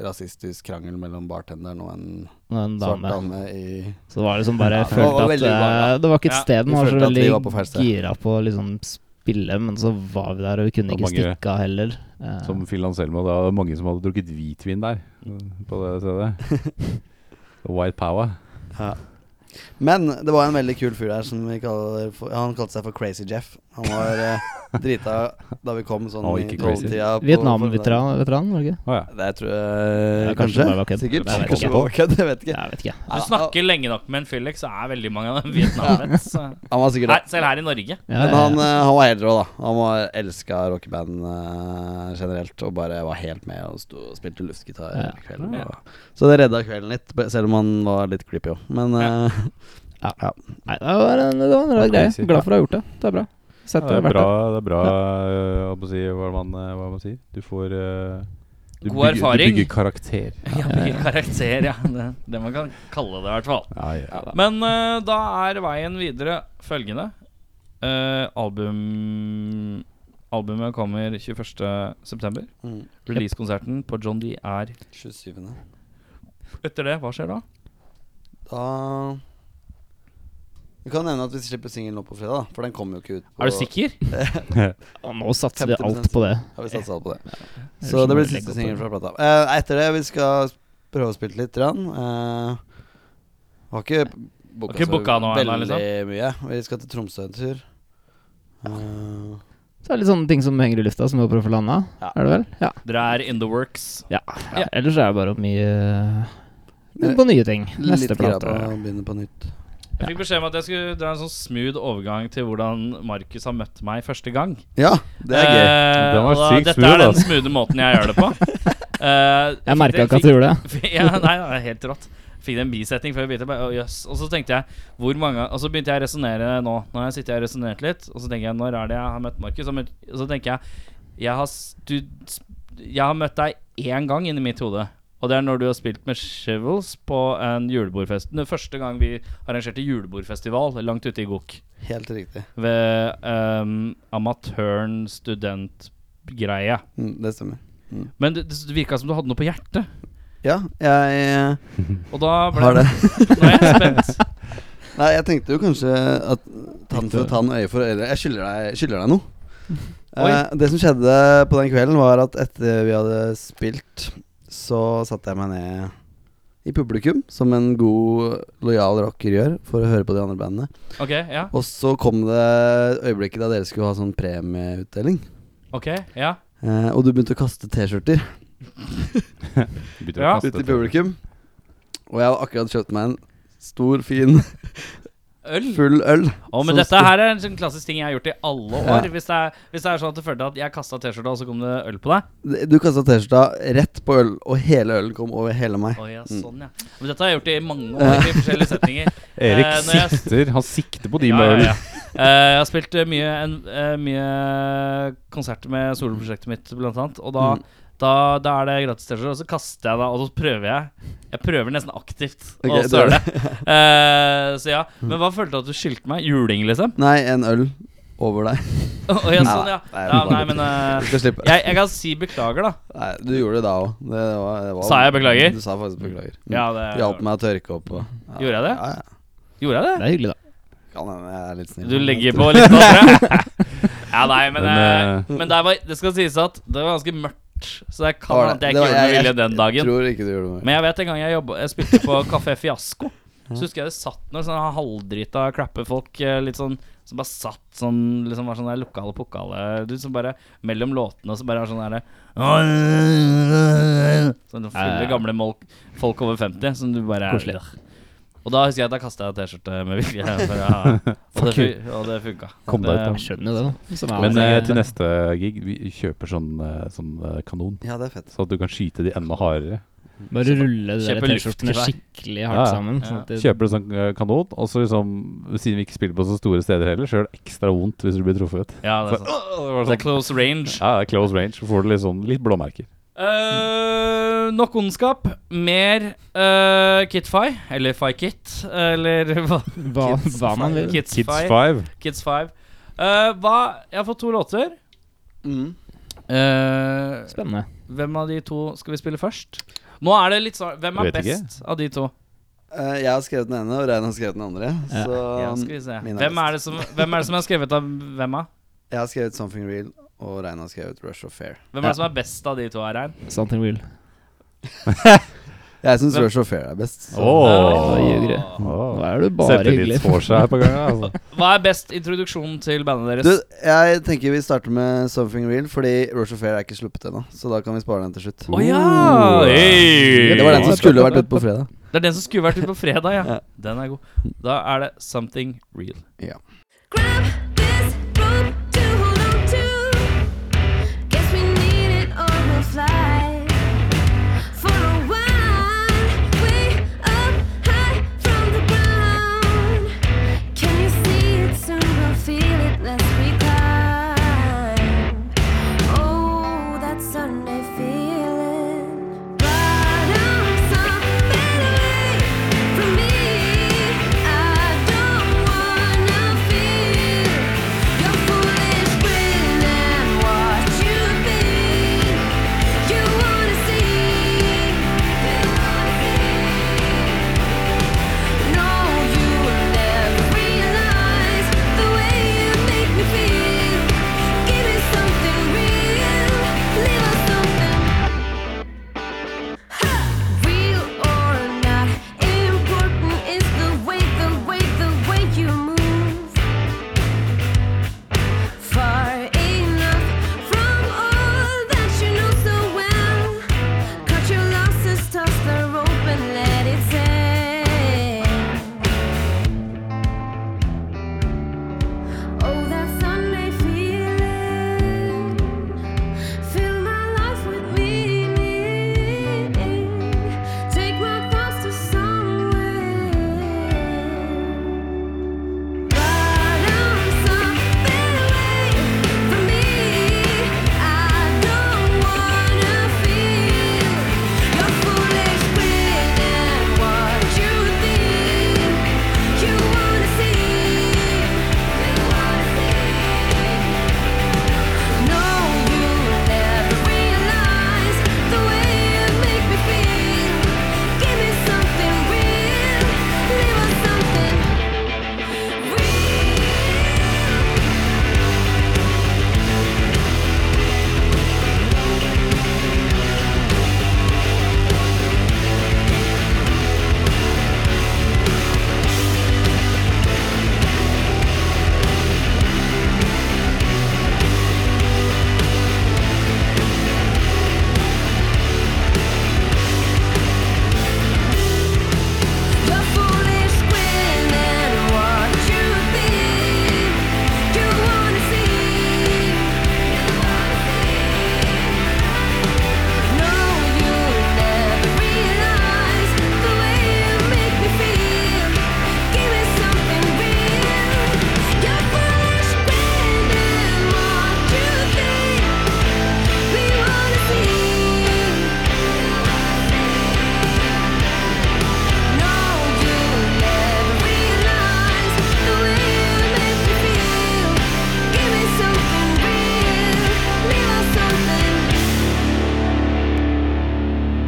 rasistisk krangel mellom bartenderen og en når en svart dame dame i Så det var liksom Ja, bare jeg det følte var at veldig ubehagelig. eh, Det var ikke et Ja, sted vi man var så følte at vi veldig var på feil sted. gira på å liksom spille, men så var vi der, og vi kunne Det ikke var mange- stikke av heller. Eh, Som Phil Anselmo, det var mange som hadde drukket hvitvin der. Mm. På det stedet. White power. Men det var en veldig kul fyr der som vi kaller for, Han kalte seg for Crazy Jeff. Han var eh, drita da vi kom sånn Han var i ikke crazy. tolvtida. på formiddagen. Vietnam-veteran, veteran, var det ikke? Å ja. Det tror jeg Ja, kanskje. kanskje det bare var kødd. Sikkert. Jeg vet Kanskje ikke. det var kødd, jeg vet ikke. Jeg vet ikke. Du snakker lenge nok med en Felix, så er veldig mange av dem vietnamvets. så- Han var sikkert Her- det. Selv her i Norge. Ja, Men ja, han, ja. eh, han var helt rå, da. Han var elska rockeband eh, generelt og bare var helt med og, sto, og spilte luftgitar Ja. hele kvelden. Og, så det redda kvelden litt, b- selv om han var litt creepy òg. Men eh, Nei, det var en, det var en rar greie. Crazy. Glad for å ha gjort det. Det er bra. Sett det er vært bra, der. det er bra øh, hva, man, sier, hva, man, øh, hva man sier. Du får øh, du God bygger, erfaring. Du bygger karakter. Ja, mye karakter, ja. Det, det man kan kalle det, i hvert fall. Ja, ja. Men eh, da er veien videre følgende. Eh, album Albumet kommer 21.9. mm, Releasekonserten på John D er 27. Etter det, hva skjer da? Da Vi kan nevne at vi slipper singelen nå på fredag, da, for den kommer jo ikke ut. På, Er du sikker? Og nå satser vi 50% alt på det. Ja, vi satser alt på det. Ellers Så må det blir vi legge siste opp singel på fra plata. Eh, etter det, vi skal prøve å spille litt. Rann. Eh, har ikke booka, Har ikke booka noe ennå, liksom? veldig mye. Vi skal til Tromsø en tur. Eh, Så er det litt sånne ting som henger i lufta, som vi håper å få landa. Ja. Er det vel? Ja. Dere er in the works. ja. Ja. Ellers er det bare mye mye på nye ting. Eh, litt Neste gira plate. på å begynne på nytt. Jeg fikk beskjed om at jeg skulle dra en sånn smooth overgang til hvordan Markus har møtt meg første gang. Ja, det er gøy. Eh, Den var og da- sykt Dette smooth, er den ass. smoothe måten jeg gjør det på. Eh, Jeg fikk- merka ikke fikk- at du gjorde det. ja, nei, det er helt rått. Fikk det en bisetning før jeg begynte. Bare, å, jøss. Og så tenkte jeg hvor mange Og så begynte jeg å resonnere nå. Nå har jeg sittet og resonnert litt, og så tenker jeg når er det jeg har møtt Markus? Og men- Og så tenker jeg jeg har, s- du, s- jeg har møtt deg én gang inni mitt hode. Og det er når du har spilt med Shivels på en julebordfest. Den første gang vi arrangerte julebordfestival langt ute i Gok. Helt riktig. Ved um, amatøren studentgreie. Mm, det stemmer. Men det, det virka som du hadde noe på hjertet. Ja, jeg eh, Og da ble har det. Nå er jeg spent. Nei, jeg tenkte jo kanskje at tann for tann, øye for øye Jeg skylder deg, skylder deg noe. Oi. Eh, det som skjedde på den kvelden, var at etter vi hadde spilt, så satte jeg meg ned i publikum, som en god, lojal rocker gjør, for å høre på de andre bandene. Ok, ja. Og så kom det øyeblikket da dere skulle ha sånn premieutdeling. Ok, ja. Eh, og du begynte å kaste T-skjorter Du begynte å Ja. kaste ut i til. publikum. Og jeg hadde akkurat kjøpt meg en stor, fin, Øl. full øl. Å, som men dette her er en sånn klassisk ting jeg har gjort i alle år. Ja. Hvis, det er, hvis det er sånn at du følte at jeg kasta T-skjorta, og så kom det øl på deg. Du kasta T-skjorta rett på øl, og hele ølen kom over hele meg. Å ja, sånn, ja. Men dette har jeg gjort i mange år i forskjellige setninger. Erik Eh, når jeg- sikter. Han sikter på de Ja, med ja, øl. ja. Eh, jeg har spilt eh, mye, en, eh, mye konserter med soloprosjektet mitt, blant annet. Og da, Mm. da, da er det gratis T-skjorte, og så kaster jeg det, og så prøver jeg. Jeg prøver nesten aktivt Ok, å det Mm. gjør søle. Eh, så ja. Men hva følte du at du skyldte meg? Juling, liksom? Nei, en øl over deg. Å ja, sånn, ja. Nei, ja nei, bare- men eh, Du skal slippe. jeg, jeg kan si beklager, da. Nei, du gjorde det da òg. Det var, det var, Sa jeg beklager? Du sa faktisk beklager. Mm. Ja, det Du hjalp meg å tørke opp. Og, ja. Gjorde jeg det? Ja, ja. Gjorde jeg det? Det er hyggelig, da. Kan hende jeg er litt snill. Du legger på litt av det? ja, nei, men, Men, eh, men det, var, det skal sies at det var ganske mørkt, så jeg kan Var det? at jeg Det ikke var- gjorde noe jeg- vilje den dagen. Jeg tror ikke du gjorde noe. Men jeg vet en gang jeg, jobbet, jeg spilte på Kafé Fiasko. Så husker jeg det satt noen sånne halvdrita crappefolk eh, litt sånn som bare satt sånn liksom var sånn der lokale pokale Du som bare mellom låtene og så bare var sånn derre Sånne Ja, ja, fulle ja. gamle molk, folk over 50 som du bare Koselig. Og da husker jeg at da kasta jeg T-skjorte med vilje. for jeg- Og det, fu- og det funka. Kom deg ut, da. Jeg skjønner jo det, da. Som er- altså Men eh, det- til neste gig, vi kjøper sånn, eh, sånn eh, kanon. Ja, det er fett. Så at du kan skyte de enda hardere. Bare rulle de der Kjøpe T-skjortene luftgevær. skikkelig Ja, hardt ja. sammen. Ja. Sånn at det, Kjøper du sånn eh, kanon, og så liksom Siden vi ikke spiller på så store steder heller, så gjør det ekstra vondt hvis du blir truffet. Ja, det Så, er sant. «Åh!» det var Det er sånn, close range. ja, det er close range. Så får du litt sånn litt blåmerker. Eh, nok ondskap. Mer uh, Kitfy, eller Fikit, eller hva? hva, hva man vil. Kids, Kids Fi. Five. Kids Five. Eh, hva Jeg har fått to låter. Mm. Eh, Spennende. hvem av de to skal vi spille først? Nå er det litt sånn Hvem er Vet ikke. best av de to? Eh, jeg har skrevet den ene, og Rein har skrevet den andre. Ja. Så um, Ja, skal vi se. min er Hvem best. er, det som, hvem er det som er skrevet av hvem? av? jeg har skrevet 'Something Real', og Rein har skrevet 'Rush of Fair'. Hvem er det som er best av de to her, Rein? Something real. Jeg syns Hvem- 'Rush of Fair' er best. så- Eh, Åh. Oi, greier. Nå er det bare hyggelig. Selvtillit får seg her på gangen. Altså. Hva er best introduksjon til bandet Du, deres? jeg tenker vi starter med 'Something Real', fordi 'Rush of Fair' er ikke sluppet ennå. Så da kan vi spare den til slutt. Å ja! Hey! Det var den som skulle vært ute på fredag. Det er den som skulle vært ute på fredag, ja. Ja. Den er god. Da er det Something Real. Ja. Grab this rope to hold on to. Guess we need it or we'll fly. For a while, way up high from the ground. Can you see it soon? We'll feel it. Let's recline. Oh, that Sunday feeling. Right on something away from me. I don't wanna feel your foolish grin and what you think you wanna see. You wanna see. No, you will never realize the way you make me feel. Give me something real, little something. Real or not, important is the way, the way, the way you move. Far enough from all that you know so well. Cut your losses, toss the rope and let it hang. Oh, that Sunday feeling. Fill my life with meaning. Take my thoughts to somewhere. Right on something away from me. I don't wanna feel your foolish grin and what you think you wanna see. You wanna see. No, you'll never realize the way you make me feel. Give me something real, live on something real. Your foolish grin and what you think you wanna see. No, you'll never realize the way you make me feel. Give me something real. Your foolish grin and what you think we wanna see. No, you'll never realize the way you make me feel. Give me something real, leave us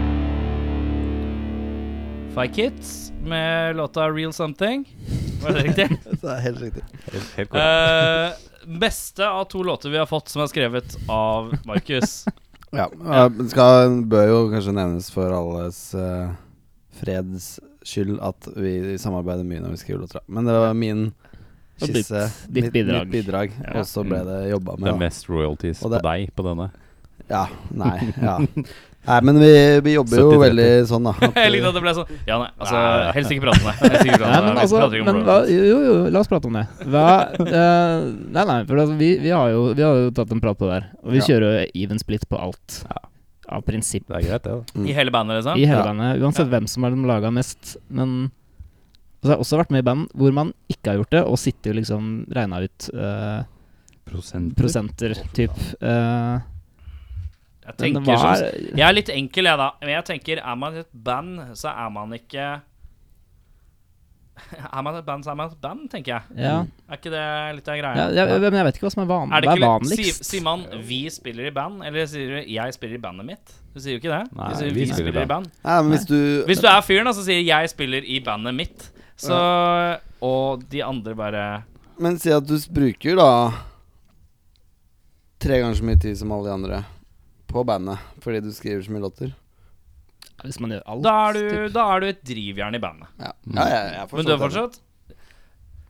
something. Five Kids med låta Real Something. Var det riktig? Det er helt riktig. Helt, helt korrekt. Eh, beste av to låter vi har fått som er skrevet av Markus. Ja, eh, det skal, bør jo kanskje nevnes for alles eh, freds skyld at vi samarbeider mye når vi skriver låter. Men det var min Og ditt- skisse, ditt mitt- bidrag. mitt bidrag Ja. og så ble Mm. det jobba Det med. er da. mest royalties Og på det- deg på denne. Ja, nei, ja. nei men vi, vi jobber jo 70-30. veldig sånn, da. at- Jeg likte at det ble sånn. Ja, nei, altså, Nei, nei. helst ikke prate om det. Helst ikke prate Nei, om det. men Vi altså prater ikke om men, hva, Royals. Jo, jo, la oss prate om det. Hva, eh, nei, nei, for altså, vi, vi, har jo, vi har jo tatt en prat på det her. Og vi Ja. kjører jo even split på alt. Ja. Av prinsipp. Det er greit, det. da I hele bandet, liksom? I hele Ja. bandet. Uansett hvem som har laga mest. Men og så har jeg også vært med i band hvor man ikke har gjort det, og sitter jo liksom regna ut eh, Prosenter. prosenter, typ. Eh, Jeg men tenker hva som er- Jeg er litt enkel, jeg, da. Men jeg tenker, er man et band, så er man ikke Er man et band, så er man et band, tenker jeg. Ja, Er ikke det litt av ja greia? jeg, jeg, men jeg vet ikke hva som er, van, Er det hva er ikke litt- vanligst. sier- Sier man 'vi spiller i band', eller sier du 'jeg spiller i bandet mitt'? Du sier jo ikke det. Du Nei, sier, vi spiller i band. Nei, men hvis du Hvis du er fyren, da, så sier 'jeg spiller i bandet mitt'. Så Og de andre bare Men si at du s- bruker da tre ganger så mye tid som alle de andre på bandet fordi du skriver så mye låter. Hvis man gjør alt. Da er du, typ. da er du et drivjern i bandet. Ja, ja, ja jeg er for Men så du vidt er fortsatt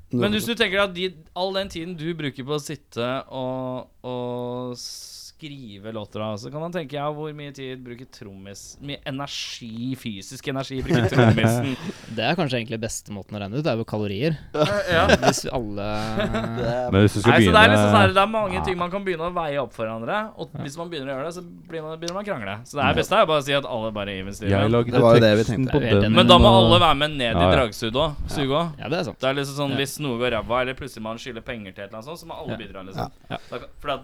enig. Men hvis du tenker at de, all den tiden du bruker på å sitte og, og skrive låter, da, så kan man tenke ja, hvor mye tid bruker trommis Mye energi, fysisk energi, bruker trommisen? Det er kanskje egentlig beste måten å regne ut, det er jo kalorier. ja. Hvis vi alle Men hvis du skal Nei, så det, er liksom, sånn her, begynne det er mange ting man kan begynne å veie opp for hverandre. Og hvis man begynner å gjøre det, så blir man, begynner man å krangle. Så det er beste er jo bare å si at alle bare er i Jeg stilen. lagde Det var jo det vi teksten tenkte. på Jeg er helt den. Men da må og- alle være med ned i Ja, ja. dragsuget òg. Suget òg. Ja, det er sant. Det er liksom sånn Ja. Hvis noe går ræva, eller plutselig man skylder penger til et eller annet sånt, så må alle bidra. liksom Ja. Da kan- For at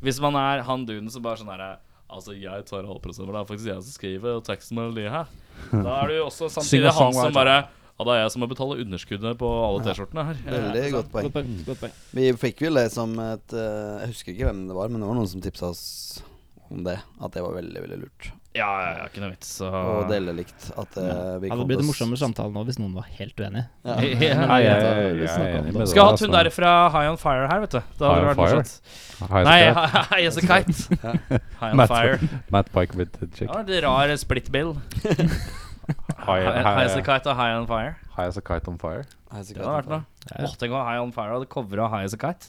hvis man er han duden som bare sånn her Altså, jeg tar halvprosent, for det er faktisk jeg som skriver og teksten og det her. Da er du jo også Sing a samtidig song, han som White. bare Ja, det er jeg som må betale underskuddet på alle T-skjortene her. Veldig Eh, godt poeng. Godt poeng. Godt poeng. Vi fikk vel det som et eh, Jeg husker ikke hvem det var, men det var noen som tipsa oss om det. At det var veldig veldig lurt. Ja, ja, ja, ikke noe vits. Så Og dele likt. At eh, vi Hadde kom til blitt en oss- morsommere samtale nå hvis noen var helt uenig. Ja. Nei, Nei, jeg- jeg, jeg, jeg er enig med deg. Skulle hatt altså. hun der fra High On Fire her, vet du. Da hadde High det on vært Fire? morsomt. High as a Nei, cat. High As A Kite. High On Matt- Fire. Matt Pike with the chick. Det var litt rar splitbill. High, High High As A Kite og High On Fire. high as a kite on fire. Hei, så Det hadde greit. vært noe. Åh, Tenk om High On Fire hadde covra High As A Kite.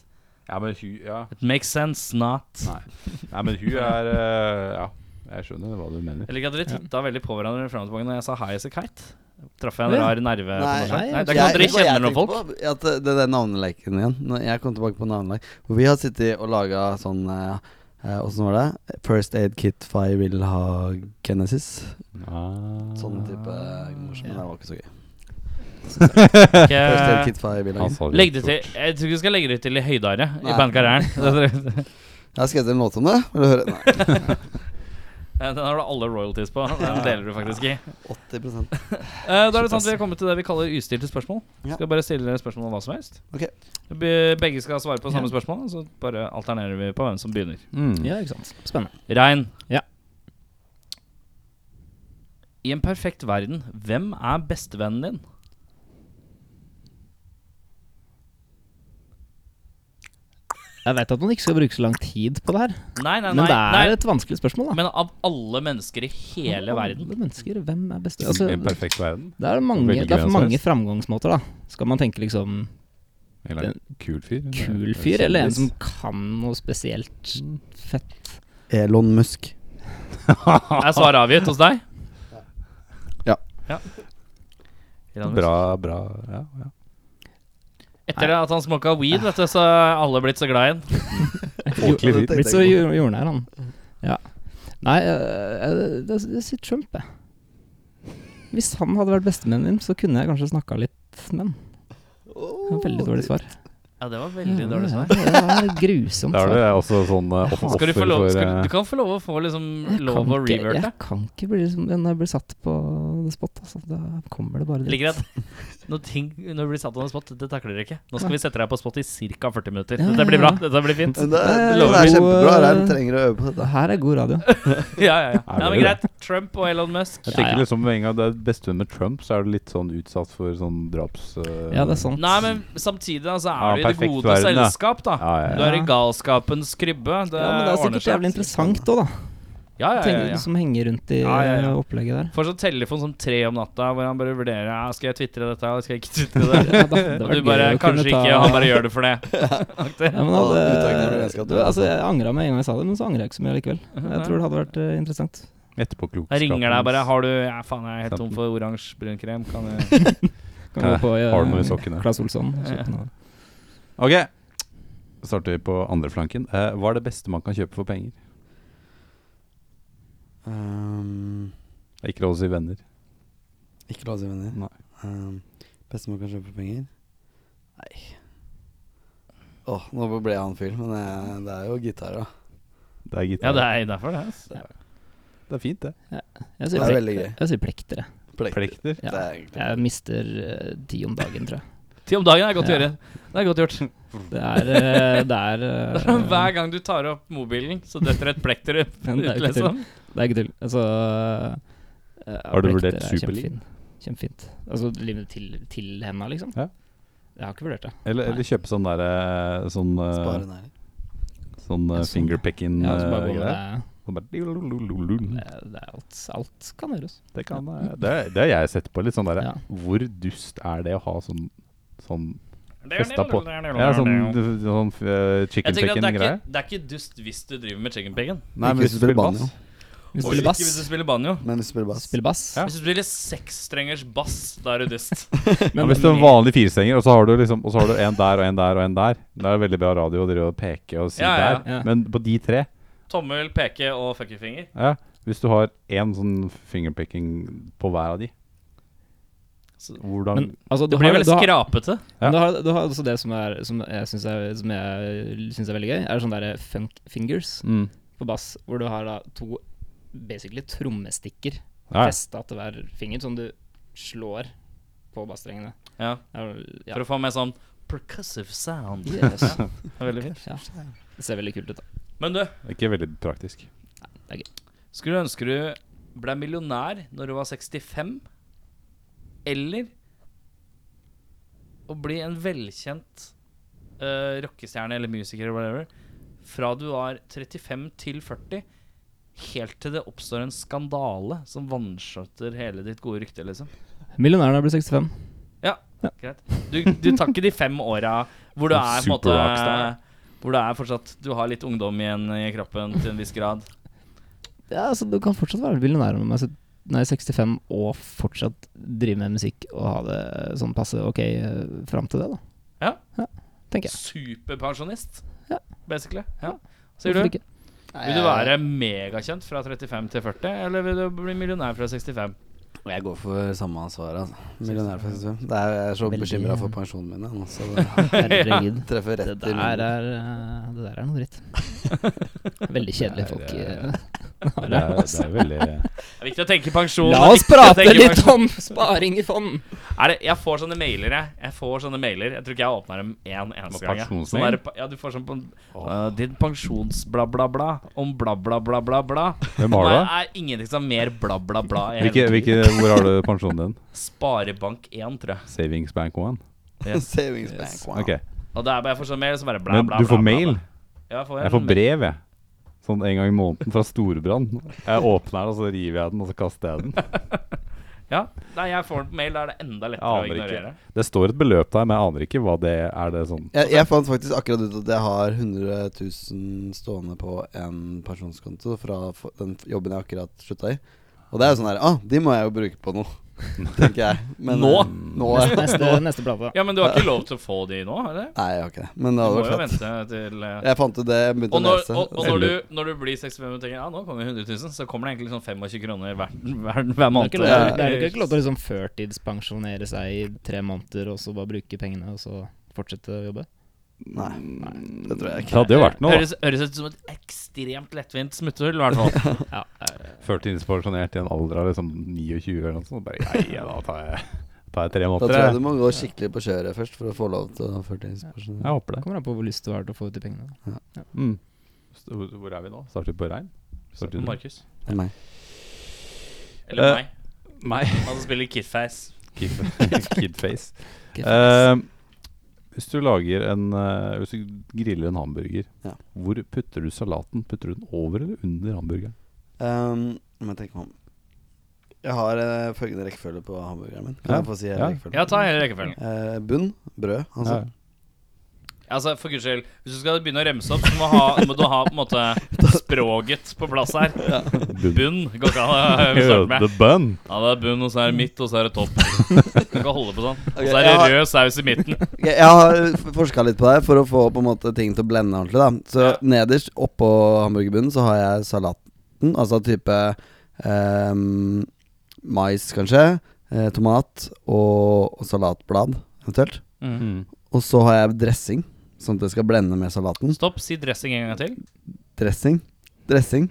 Ja, men hun Ja. It makes sense not. Nei, men hun er eh, Ja, jeg skjønner hva du mener. Jeg liker at dere titta veldig på hverandre fram og tilbake når jeg sa High As A Kite. Traff jeg en Ja. rar nerve? Eh, på Nei. noe slag? Nei, det er ikke Nei, sånn at Jeg- dere hva jeg kjenner noen folk. tenkte på, At det, det er navneleken igjen. Når jeg kom tilbake på navnelek. Hvor vi har sittet og laga sånn eh, eh, Åssen var det? First Aid Kit Fi Will Ha Genesis. Ah. Sånn type morsom. Men Ja. det var ikke så gøy. First Aid Ikke- Kit Fi Will Ha Han Genesis. sa det Legg det fort. til Jeg tror ikke vi skal legge det til i høydare i Nei. bandkarrieren. Jeg har skrevet en låt om det. Vil du høre? Nei. Den har du alle royalties på. Den deler du faktisk i. 80 Eh, Da er det sånn at vi er kommet til det vi kaller ustilte spørsmål. Ja. Skal bare stille dere spørsmål om hva som helst. Ok. Be- Begge skal svare på samme spørsmål, så bare alternerer vi på hvem som begynner. Mm. Ja, ikke sant. Spennende. Rein. Ja. I en perfekt verden, hvem er bestevennen din? Jeg vet at man ikke skal bruke så lang tid på det her, Nei, nei, men nei. det er nei. et vanskelig spørsmål, da. Men av alle mennesker i hele verden Mm. Alle mennesker, hvem er best I altså, en perfekt verden. Det er mange, Velger det er hvem som mange helst. framgangsmåter, da. Skal man tenke liksom Eller en kul fyr. eller kul fyr, eller en kjendis. som kan noe spesielt fett? Elon Musk. Er svaret avgitt hos deg? Ja. ja. Bra, bra Ja, ja. Etter at han smoka weed, vet du, så er alle blitt så glad i han. Folkelig fyr. Blitt så jor- jordnær, han. Ja. Nei, eh, jeg, jeg, jeg sier Trump, jeg. Hvis han hadde vært bestevennen min, så kunne jeg kanskje snakka litt med han. Det var Veldig dårlig svar. Ja, det var veldig Ja, dårlig det- svar. Det var et grusomt Da er svar. det også sånn eh, off- Skal offer du, få lov, for skal du, eh, du kan få lov å få liksom Jeg lov kan å ikke- reverte. Jeg kan ikke bli, liksom, når jeg blir satt på the spot. Altså, da kommer det bare dit. Ligger det når, ting, når du blir satt on the spot, det takler dere ikke. Nå skal Nei. vi sette deg på spot i ca. 40 minutter. Ja, ja, Dette blir bra. ja. Dette blir fint. Det, det, Eh, lover jo, er kjempebra. eh, Rein trenger å øve på Det dette. her er god radio. Ja, ja, ja. Er ja men det greit. Trump og Elon Musk. Jeg Ja, tenker ja. liksom med en gang det er bestevenn med Trump, så er du litt sånn utsatt for sånn draps... eh, Ja, det er sant. Nei, men samtidig da, så Ja, er du i det perfekt gode verden, da. selskap, da. Ja, ja, Du ja. er i galskapens krybbe. Det, ja, men det er ordner sikkert seg. jævlig liksom- interessant òg, da. Ja, ja, ja, tenk- ja. som henger rundt i Ja, ja, ja. eh, opplegget der. Fortsatt telefon som tre om natta, hvor han bare vurderer ja, Skal jeg tvitre dette, eller skal jeg ikke tvitre det? Ja, da, Og det var du gøy bare å kunne Kanskje ta- ikke, og han bare gjør det for det. ja, men Alle uttagene hadde, blir ganske du, altså, Jeg angra med en gang jeg sa det, men så angrer jeg ikke så mye likevel. Jeg tror det hadde vært eh, interessant. Etterpåklokskapen Jeg ringer deg bare hans. 'Har du Ja, faen, jeg er helt tom for oransje brunkrem. Kan jeg Kan gå Eh, på eh, har du noe i sokkene? Claes Olsson. og Ja. kjøpe noe. Ok, starter vi på andre flanken. Eh, hva er det beste man kan kjøpe for penger? Um, Det er Ikke lov å si venner. ikke lov å si venner. Nei. Um, Bestemann kan kjøpe for penger? Nei. Åh, nå ble jeg han fyren, men jeg, det er jo gitar, da. Det er gitar. Ja, det er derfor det. ass. Det er fint, det. Jeg Det sier er plek- veldig gøy. jeg sier plekter, jeg. Plekter. Ja. Det er egentlig Jeg mister eh, ti om dagen, tror jeg. Ti om dagen er godt å Ja. gjøre. Det er godt gjort. Det er eh, Det er, eh, Hver gang du tar opp mobilen, så detter et plekter ut. Men det er jo ikke liksom. Det er ikke tull. Altså eh, Har du plekter vurdert er Superligaen? kjempefin. Kjempefint. Altså limet til, til henda, liksom. Ja. Jeg har ikke vurdert det. Eller, eller Nei. kjøpe sånn derre Sånn, Spare eh, den her. sånn eh, Ja, sånn. fingerpicking Ja, altså, bare gå eh, med greie. det. Og bare lululululul. Det, det er alt, alt kan gjøres. Det kan eh, Det er- det har jeg sett på. Litt sånn derre Ja. Hvor dust er det å ha sånn Sånn festa på Ja, sånn, Jeg sånn eh, chicken tenker at det er, ikke, picking-greie. det er ikke dust hvis du driver med chicken picking. Nei, men hvis du spiller banjo. Hvis du Og spiller ikke hvis du bass, spiller banjo. Men hvis du spiller bass spiller bass. Ja. Hvis du spiller seksstrengers bass, da er du dust. Ja, hvis du har en vanlig firestenger, og så har du liksom Og så har du en der og en der og en der Det er veldig bra radio å drive og peke og si Ja, ja, der, ja. men på de tre Tommel, peke og fuckerfinger. ja, Hvis du har én sånn fingerpicking på hver av de Så- Hvordan Men altså, du Det blir har- veldig du har- skrapete. Ja. Men du har, du har også det som, er, som jeg syns er, som jeg synes er veldig gøy, er sånn derre funk fingers mm. på bass, hvor du har da to basically trommestikker ja, ja. festa til hver finger, som du slår på bassstrengene. Ja, Det er vel- Ja. For å få mer sånn percussive sound. Yes. Det er veldig fint. ja. Det ser veldig kult ut, da. Men du, Ikke veldig praktisk. skulle du ønske du ble millionær når du var 65? Eller å bli en velkjent eh, rockestjerne eller musiker eller whatever fra du var 35 til 40, helt til det oppstår en skandale som vanskjøtter hele ditt gode rykte, liksom? Millionæren er blitt 65. Ja, greit. Du, du tar ikke de fem åra hvor du En er på en måte superrockstar. Hvor du er fortsatt Du har litt ungdom igjen i kroppen til en viss grad. Ja, altså, du kan fortsatt være millionær om jeg Nei, 65 og fortsatt drive med musikk og ha det sånn passe ok eh, fram til det, da. Ja. tenker jeg. Superpensjonist, Ja. basically. Ja. Sier du? Hvorfor ikke? Vil Eh. du være megakjent fra 35 til 40, eller vil du bli millionær fra 65? Og jeg går for samme ansvar, altså. Millionær, for eksempel. Det er, jeg er så Veldig- bekymra for pensjonen min, jeg, nå, så det Herregud. treffer Det rett i der er, munnen. eh, det der er noe dritt. Veldig Nei, kjedelige folk. det er- eh, har Det det, er, altså. det er veldig Det er viktig å tenke pensjon. La det er oss viktig å prate tenke litt pensjon. om sparing i fond! Er det, jeg får sånne mailer, jeg. Jeg får sånne mailer Jeg tror ikke jeg åpna dem én eneste gang. jeg. Sånn Pensjonsmail? der pa- ja, du får sånn på uh, Din pensjonsbla-bla-bla om bla-bla-bla-bla-bla. Hvem har du, da? Det er ingenting som er mer bla-bla-bla. Hvilke, hvilke, hvor har du pensjonen din? Sparebank1, tror jeg. Savings Bank One? Savings bank. Wow. Ok. Og det er bare jeg får sånn mail, så bare bla, Men bla, du bla, får bla, mail? bla. Ja, jeg får, Jeg får brev, jeg. Sånn en gang i måneden fra Storbrann. Jeg åpner den, og så river jeg den, og så kaster jeg den. Ja, Nei, jeg får den på mail. Da er det enda lettere å Jeg aner ignorere. ikke. Det står et beløp der, men jeg aner ikke hva det er. Er det sånn Jeg, jeg fant faktisk akkurat ut at jeg har 100 000 stående på en pensjonskonto fra f- den f- jobben jeg akkurat slutta i. Og det er jo sånn her Ah, de må jeg jo bruke på noe, tenker jeg. Men, Nå? eh, nå er, Neste, neste plate. Ja, men du har ikke lov til å få de nå? eller? nei, jeg har ikke det. Men det Du må hadde jo vært fett. vente til eh, Jeg fant ut det, jeg begynte Og å når, lese. og, og når, du, når du blir 65 og tenker ja, nå kommer 100 000, så kommer det egentlig sånn 25 kroner hver, hver, hver Det er måned. ikke lov- Ja. det er jo ikke lov til å liksom førtidspensjonere seg i tre måneder, og så bare bruke pengene, og så fortsette å jobbe. Nei, det tror jeg Det ikke. hadde jo vært noe, da. Høres, høres ut som et ekstremt lettvint smutthull, i hvert fall. Ja, Førtidspensjonert i en alder av liksom 29 eller noe sånt. Bare ja, ja, da tar jeg, tar jeg tre Da tror jeg du måneder. jeg. må gå skikkelig på kjøret først for å få lov til å førtidspensjonere. Jeg håper det det. kommer an på hvor lyst du har til å få ut de pengene. da. Mm. Så Hvor hvor er vi nå? Starter vi på rein? Starter vi- Markus. Det er meg. Eller Eh. meg. Nei. Han som spiller Kidface. Kid- Kidface. Ikke Eh, hvis du lager en eh, Hvis du griller en hamburger, Ja. hvor putter du salaten? Putter du den over eller under hamburgeren? Um, må jeg tenke meg om. Jeg har eh, følgende rekkefølge på hamburgeren min. Kan Ja. jeg få si hele Ja. rekkefølgen? Ja, ta hele rekkefølgen. Eh, bunn, brød, altså. Ja. Altså, for guds skyld, hvis du skal begynne å remse opp, så må, ha, må du ha på en måte språket på plass her. Bunn går ikke an å starte med. The bun. Ja, det er bunn, og så er det midt, og så er det topp. Du kan ikke holde på sånn. Og så Ok, er det jeg har- rød saus i midten. Ok, Jeg har forska litt på det her for å få på en måte ting til å blende ordentlig. da Så Ja. Nederst oppå hamburgerbunnen så har jeg salaten, altså type ehm, mais, kanskje, eh, tomat og, og salatblad eventuelt. Mm. Og så har jeg dressing, sånn at det skal blende med salaten. Stopp, si dressing en gang til. Dressing. Dressing.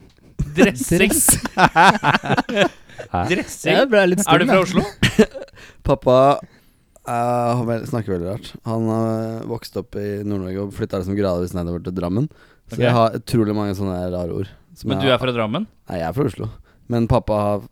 Dressing! Hæ? dressing. Jeg ble litt Er du stum. fra Oslo? Pappa eh, han vel- snakker veldig rart. Han eh, vokste opp i Nord-Norge og flytta liksom gradvis nedover til Drammen. Så Ok. jeg har utrolig mange sånne rare ord. som Men jeg du er fra Drammen? Nei, jeg er fra Oslo. Men pappa har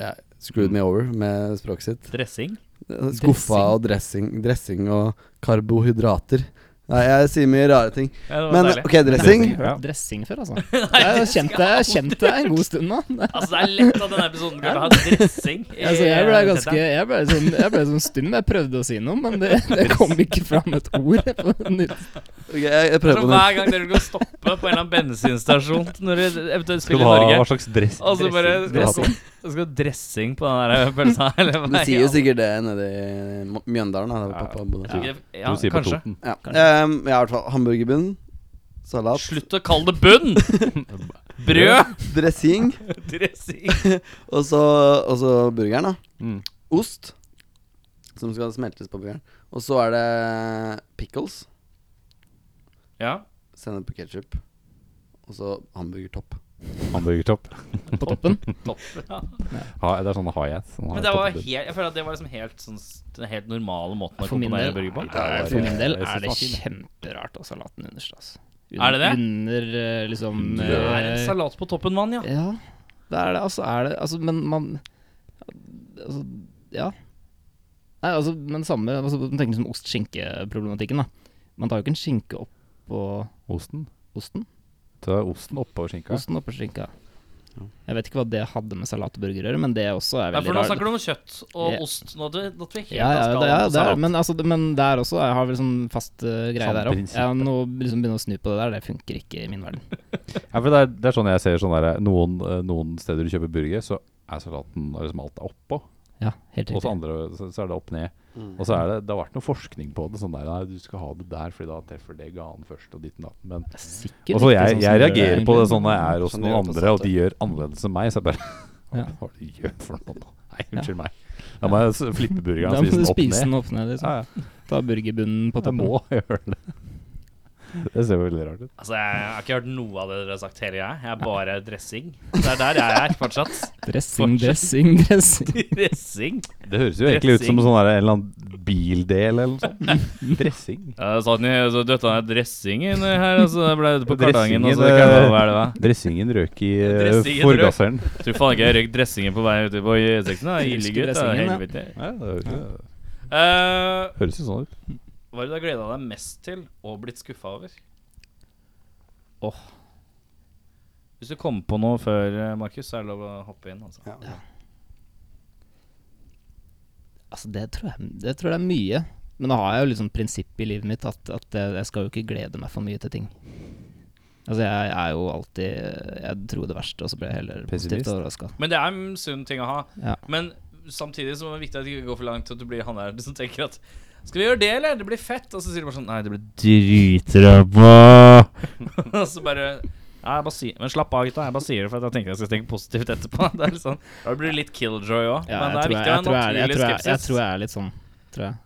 ja, screwed me over med språket sitt. Dressing? Skuffa og dressing, dressing og karbohydrater. Nei, jeg sier mye rare ting. Ja, det var Men deilig. ok, dressing. Ja. Dressing før, altså. Jeg har kjent det, jeg har kjent det en god stund nå. Altså, det er lett at denne episoden kan ha dressing. i- Altså, jeg ble ganske Jeg ble sånn, jeg ble sånn stum. Jeg prøvde å si noe, men det, det kom ikke fram et ord. på nytt. Ok, jeg, jeg prøver Så på hver nytt. gang dere skal stoppe på en eller annen bensinstasjon når dere eventuelt Skal du spiller ha i hva Norge slags dress? Og så bare dressing? dressing. Skal du dressing på den der pølsa her, eller hva Du er sier jo det? sikkert det nede i Mo- Mjøndalen. da, Der hvor pappa bodde. Jeg tror ikke- Ja, Du sier på kanskje. Toten. Ja. Ehm, jeg har i hvert fall hamburgerbunn, salat, Slutt å kalle det bunn! Brød! dressing Dressing. og så, og så burgeren. da Mm. Ost, som skal smeltes på burgeren. Og så er det pickles. Ja. Sennep på ketsjup. Og så hamburgertopp. Hamburgertopp. På toppen. Topp. Ja. Ha, det er sånne hi-hats. Sånn Men det var helt, jeg føler at det var liksom helt sånn s- den helt normale måten å For min komponere del, burger på. Nei, for min del Jeg synes er det den var kjemperart å ha salaten underst. Altså. Er det det? Under eh, liksom Det er en eh, salat på toppen, mann, ja. Ja, det er det. Altså, er det altså, Men man Altså, ja. Nei, altså, men samme altså, man tenker liksom ost-skinke-problematikken, da. Man tar jo ikke en skinke oppå Osten. osten. Ta osten oppå skinka. Osten oppå skinka. Jeg vet ikke hva det hadde med salat og burger å gjøre, men det også er Ja, for veldig nå rart. snakker du om kjøtt og Ja. ost. Nå at vi, nå at vi er helt Ja, ja, av det, skalaen ja på det er, salat. men, altså, det- men der også Jeg har vel sånn fast eh, greie Samme der òg. prinsippet. Ja, nå liksom begynne å snu på det der, det funker ikke i min verden. Ja, for det er, det er sånn jeg ser sånn der, noen, eh, noen steder du kjøper burger, så er salaten og liksom alt er oppå. Ja, helt Og så riktig. andre, så, så er det opp ned. Og så er det, det har vært noe forskning på det. Sånn der, nei, du skal ha det der, fordi da treffer det ganen først, og ditten datten. Men Sikkert Og så ikke jeg, sånn som jeg du gjør det, reagerer på det egentlig. sånn når jeg er hos Sånn noen gjør det på andre, og de gjør annerledes enn meg. Så jeg bare Ja. Hva er det du gjør for noe nå? Nei, unnskyld meg. Da må jeg s- flippe burgeren Da og må spise du den opp spise ned. den opp ned. Liksom. Ja, ja. Ta burgerbunnen på Jeg toppen. må gjøre det. Det ser veldig rart ut. Altså, jeg har ikke hørt noe av det dere har sagt hele jeg. Jeg er bare dressing. Det er der jeg er fortsatt. Dressing, Fortsett. dressing, dressing. Dressing. Det høres jo egentlig ut som Dressing. sånn der, en eller annen bildel eller noe sånt. Dressing. Sonny, så døtta han dressing inni her, og så ble det på kartongen. Og så Dressingen, kan det eh, være det, hva? Dressingen røk i eh, Dressingen røk. forgasseren. Tror faen ikke jeg røyk dressingen på vei ute på E6-en. da. Jeg Ille husker gutt, da. dressingen, ja. Helvete. Ja, det høres jo- Eh, høres jo sånn ut. hva er det du har gleda deg mest til og blitt skuffa over? Åh. Hvis du kommer på noe før, eh, Markus, så er det lov å hoppe inn. Altså. Ja. Altså, det tror, jeg, det tror jeg er mye. Men da har jeg jo liksom prinsipp i livet mitt at, at jeg, jeg skal jo ikke glede meg for mye til ting. Altså, jeg er jo alltid Jeg tror det verste, og så blir jeg heller Pessimist. positivt overraska. Men det er en sunn ting å ha. Ja. Men samtidig så er det viktig at det ikke går for langt til at du blir han der som tenker at Skal vi gjøre det, eller? Det blir fett. Og så sier du bare sånn Nei, det blir Dritræva! Og så bare Nei, jeg bare sier Men slapp av, gutta. Jeg bare sier det for at jeg tenker jeg skal tenke positivt etterpå. Det er litt sånn Da blir det litt killjoy òg. Ja, men det er jeg, tror jeg, viktig å ha en naturlig jeg, tror jeg, jeg, tror jeg, jeg skepsis. tror jeg er litt sånn, tror jeg.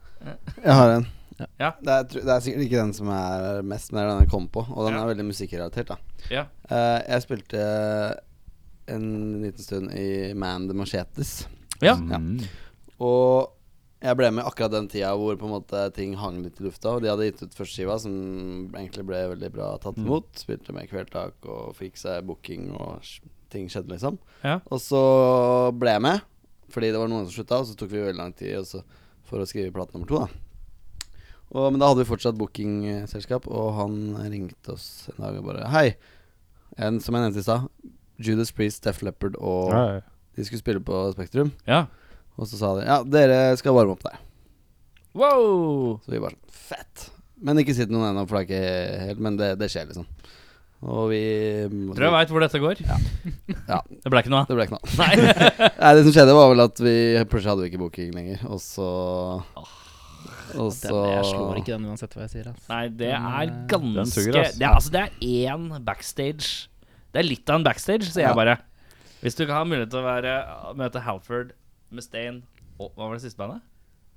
Jeg har en. Ja. Det, er, tr- det er sikkert ikke den som er mest, men det er den jeg kom på. Og den Ja. er veldig musikkrelatert. da Ja. Eh, Jeg spilte en liten stund i Man the Machetes. Ja. Mm. Og jeg ble med akkurat den tida hvor på en måte ting hang litt i lufta. Og de hadde gitt ut førsteskiva, som egentlig ble veldig bra tatt imot. Spilte med kveldtak og fikk seg booking, og s- ting skjedde, liksom. Ja. Og så ble jeg med, fordi det var noen som slutta, og så tok vi veldig lang tid og så- for å skrive plate nummer to, da. Og, men da hadde vi fortsatt bookingselskap, og han ringte oss en dag og bare Hei. En, som jeg nevnte i stad, Judas Priest, Def Leppard og Ja, ja. De skulle spille på Spektrum, Ja. og så sa de ja, dere skal varme opp der. Wow! Så vi bare sånn Fett! Men ikke sitt noen ennå, for det er ikke helt Men det, det skjer, liksom. Og vi Tror jeg veit hvor dette går. Ja. Det ble ikke noe av. Det ble ikke noe. Nei. Nei, det som skjedde, var vel at vi plutselig hadde vi ikke booking lenger, og så Og så Jeg slår ikke den uansett hva jeg sier. Altså. Nei, det er Den, eh, ganske den suger, ass. det, er, altså, det er én backstage. Det er litt av en backstage, sier Ja. jeg bare. Hvis du ikke har mulighet til å være, møte Halford, Mustaine og Hva var det siste bandet?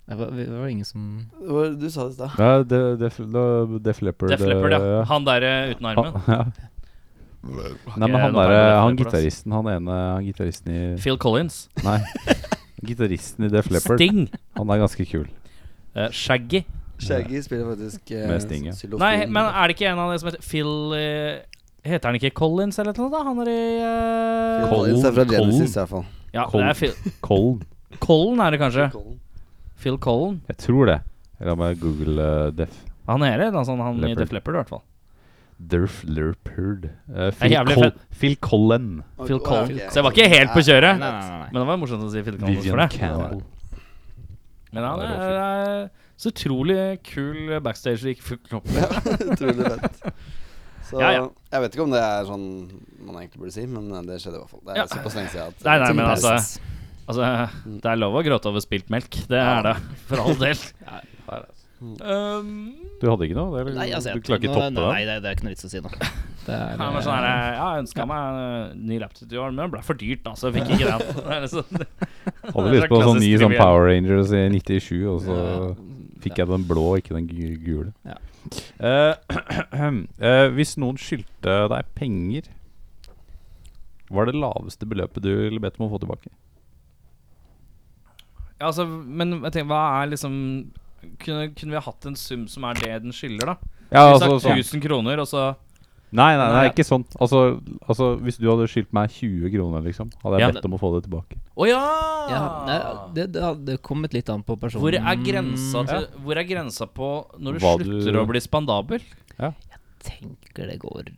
Det var, det var ingen som Det var- Du sa det i stad. Nei, det- Def, da- Def Leppard Def Leppard, ja. eh, Han der eh, uten armen. Han- ja. Nei, men Eh, han nå derre tar vi Han Def Leppard, ass. gitaristen, han ene han gitaristen i Phil Collins. Nei. Gitaristen i Def Leppard. Sting. Han er ganske kul. Eh, Shaggy. Shaggy spiller faktisk eh, Med Sting, ja. xylofon. Nei, men er det ikke en av de som heter Phil eh, Heter han ikke Collins eller noe? da? Han er i eh, Col- Collins er fra Colin- Genesis, i hvert fall. Ja, Col- det er Phil Colin. Collen er det kanskje. Colin. Phil Collen. Jeg tror det. La meg google eh, Def Han er det, altså, han i Leopard. Def Leppard i hvert fall. Derf Leppard. Eh, er Phil, jævlig Col fett. Phil Collen. Phil Å, Collen. ok. Så jeg var ikke helt på kjøret. Nei, nei, nei. Men det var morsomt å si Phil Collins for Vivian det. Campbell. Men han Det er er, er så utrolig kul backstage du ikke fikk opp med. Utrolig fett. Så Ja, ja. jeg vet ikke om det er sånn man egentlig burde si, men eh, det skjedde i hvert fall. Det er Ja. såpass lenge siden at Nei, nei, men Pass. altså, altså Det er lov å gråte over spilt melk. Det er det. For all del. altså. Mm. Um, Du hadde ikke noe? Det, liksom- Nei, altså, jeg- du klarer ikke nå- toppe den? Nei, det, det er ikke noe vits å si nå. Det er, eh, Han var sånn her Ja, jeg ønska meg en eh, ny laptop i år, men det ble for dyrt, da, så jeg fikk ikke den. Det er liksom- Hadde Det er lyst på sånn ny klassisk sånn trivial. Power Rangers i 97, og så fikk jeg den blå, ikke den gu- gule. Ja. Eh, eh, hvis noen skyldte deg penger, hva er det laveste beløpet du ville bedt om å få tilbake? Ja, altså, men jeg tenker, hva er liksom kunne, kunne vi ha hatt en sum som er det den skylder, da? Ja, Vi altså, sa sånn. 1000 kroner, og så Nei, nei, nei, Nei. ikke sånn. Altså, altså, hvis du hadde skyldt meg 20 kroner, liksom, hadde jeg Ja. bedt om å få det tilbake. Å ja! Mm. ja, nei, det, det hadde kommet litt an på personen. Mm, Hvor er grensa til Hvor er grensa på når du Hva slutter du- å bli spandabel? tenker det går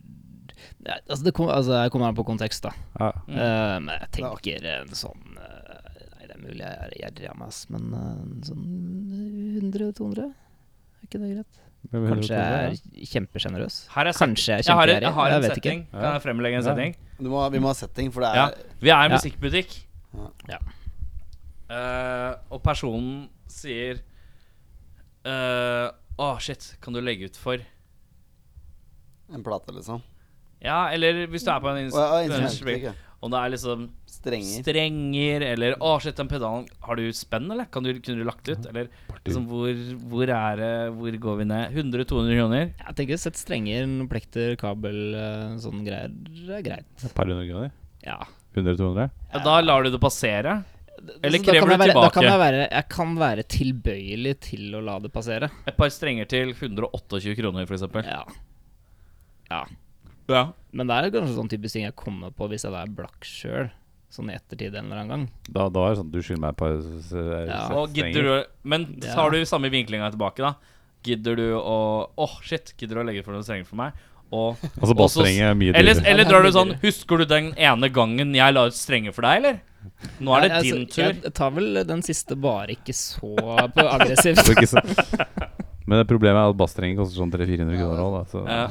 Nei, altså, det kom, altså, jeg kommer an på kontekst, da. Ja. Mm. Eh, men jeg tenker en sånn eh, Nei, det er mulig jeg er gjerrig av meg, ass, men eh, en sånn 100-200? Er ikke det greit? Det ville Kanskje vært jeg er kjempesjenerøs. Her er set- Kanskje jeg er jeg har, en- jeg kjempegjerrig. har en Jeg vet ikke. setting. Kan jeg fremlegge en Ja. setting? Du må, vi må ha setting, for det Ja. er Vi er en Ja. musikkbutikk. Ja. Eh, og personen sier eh, Å, shit, kan du legge ut for en plate, liksom. Ja, eller hvis du er på en Og jeg har instrument instrumenter. Om det er liksom Strenger. strenger eller Å, shit, den pedalen Har du spenn, eller? Kan du, kunne du lagt ut? Eller liksom, hvor, hvor er det Hvor går vi ned? 100-200 kroner? Jeg tenker sett strenger, noen plekter, kabel, eh, sånn greier det er greit. Et par hundre kroner? Ja. 100-200? Ja, da lar du det passere? Eller Altså, da kan krever du jeg være, Da kan tilbake? jeg, være, jeg kan være tilbøyelig til å la det passere. Et par strenger til 128 kroner, for eksempel Ja. ja. Ja. Men det er kanskje sånn typisk ting jeg kommer på hvis jeg er blakk sjøl. Sånn i ettertid en eller annen gang. Da, da er det sånn du skylder meg et par s- s- Ja. s- Og strenger. gidder du Men Ja. tar du samme vinklinga tilbake, da? Gidder du å Åh, shit, gidder du å legge for noen strenger for meg? Og, Altså bassstrenger er mye eller, dyrere. eller drar du sånn Husker du den ene gangen jeg la ut strenger for deg, eller? Nå er det Nei, altså, din tur. Jeg tar vel den siste bare ikke så på aggressivt. Så ikke sant? Men det problemet er at bassstrengen koster sånn 300-400 kroner òg, da. Så Ja.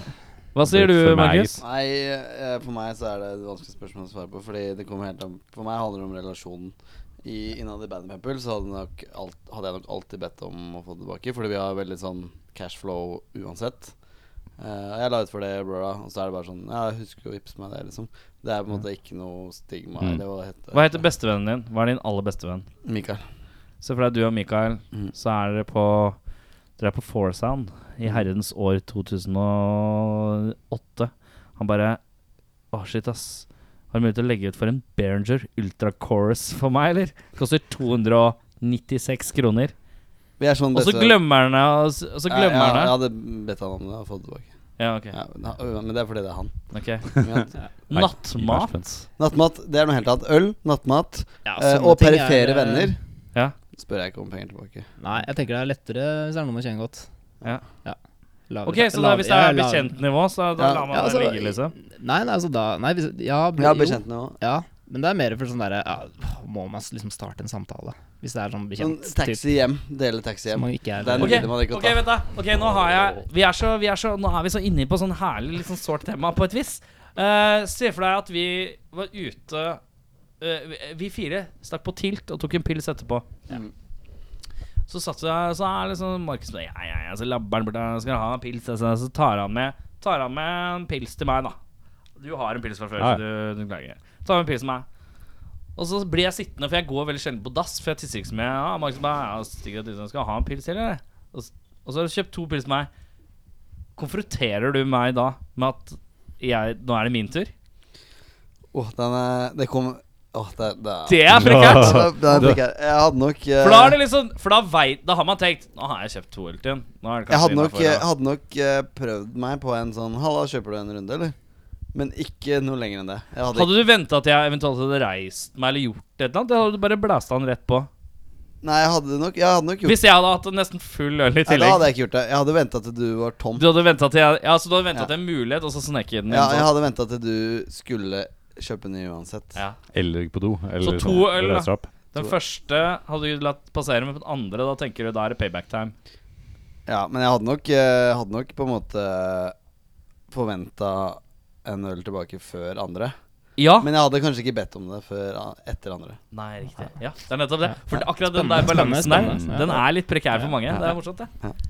Hva sier du, For meg, Markus? Nei, eh, for meg så er det et vanskelig spørsmål å svare på. Fordi det kommer helt an For meg handler det om relasjonen. I, innad i Band Pepple så hadde, nok alt, hadde jeg nok alltid bedt om å få det tilbake. Fordi vi har veldig sånn cashflow uansett. Eh, og jeg la ut for det, brora, og så er det bare sånn Ja, jeg husker å vippse meg det, liksom. Det er på en måte ikke noe stigma. Mm. Eller hva det heter Hva heter bestevennen din? Hva er din aller beste venn? Mikael. Se for deg du og Mikael, Mm. så er dere på Dere er på Foursound i herrens år 2008. Han bare Å, shit, ass. Har du mulighet til å legge ut for en Behringer Ultra Chorus for meg, eller? Koster 296 kroner. Vi er sånn Og så beste- glemmer han det. Og så- og så Ja, glemmer ja, Jeg han det. hadde bedt han om det og fått det tilbake. Ja, ok. Ja, na- men det er fordi det er han. ok. Ja. Nei, Nattmat. gi meg Nattmat, det er noe helt annet. Øl, nattmat Ja, eh, sånne og ting er- perifere venner. Ja. Spør jeg ikke om penger tilbake. Nei, jeg tenker det er lettere hvis det er noen man kjenner godt. Lavere- Ok, så da, hvis det er lavere- ja, lavere- bekjentnivå, så da Ja, lar man ja, altså, det ligge, liksom? Nei, nei, altså da Nei, hvis Ja, Ja, jo. bekjent nå. Ja, men det er mer for sånn derre ja, Må man liksom starte en samtale? Hvis det er sånn Sånn bekjent typ, taxi hjem. Dele taxi som hjem. man ikke er Det er en Ok, mulighet man ikke kan ok, ta. vent da. Ok, nå har jeg Vi er så, vi er så Nå er vi så inne på sånn herlig, litt sånn sårt tema på et vis. Eh, Se for deg at vi var ute eh, vi- Vi fire stakk på tilt og tok en pils etterpå. Mm. Så satt jeg Så er liksom Markus Ja, ja, ja, så labber'n bort der, Skal ha en pils? Altså, så tar han med Tar han med en pils til meg, da. Du har en pils fra før, Ja, ja. så du, du klager. Tar med en pils til meg. Og så blir jeg sittende, for jeg går veldig sjelden på dass. For jeg tisser ikke så mye. Ja, Markus bare ja, stikker at du skal ha en pils til, eller? Og s- og så har du kjøpt to pils til meg. Konfronterer du meg da med at jeg, nå er det min tur? Åh, den er Det kom Åh, det, det, Det er prekkert! Ja, det er prekært. Jeg hadde nok eh, For da er det liksom For da veit Da har man tenkt Nå har jeg kjøpt to øl til den. Nå er det Jeg kanskje hadde nok, innenfor, da.» jeg hadde nok eh, prøvd meg på en sånn Halla, kjøper du en runde, eller? Men ikke noe lenger enn det. Jeg hadde, Hadde du venta at jeg eventuelt hadde reist meg eller gjort et eller annet? Det hadde du bare blæsta han rett på. Nei, jeg hadde nok, jeg hadde nok gjort Hvis jeg hadde hatt en nesten full øl i Nei, da tillegg. hadde jeg ikke gjort det. Jeg hadde venta til du var tom. Du hadde venta til jeg Ja, så du hadde venta Ja. til en mulighet, og så snek jeg den Ja, jeg inn. hadde venta til du skulle kjøpe ny uansett. Ja. Eller på do. Eller Så to sånn, øl, da. reiser opp. Den første hadde du latt passere, men på den andre da tenker du da er det payback time. Ja, men jeg hadde nok, eh, hadde nok på en måte forventa en øl tilbake før andre. Ja. Men jeg hadde kanskje ikke bedt om det før a- etter andre. Nei, riktig. Ja, det er nettopp det. For akkurat den Spennende, der balansen der, spennende, spennende. den er litt prekær for mange. Det er morsomt, det.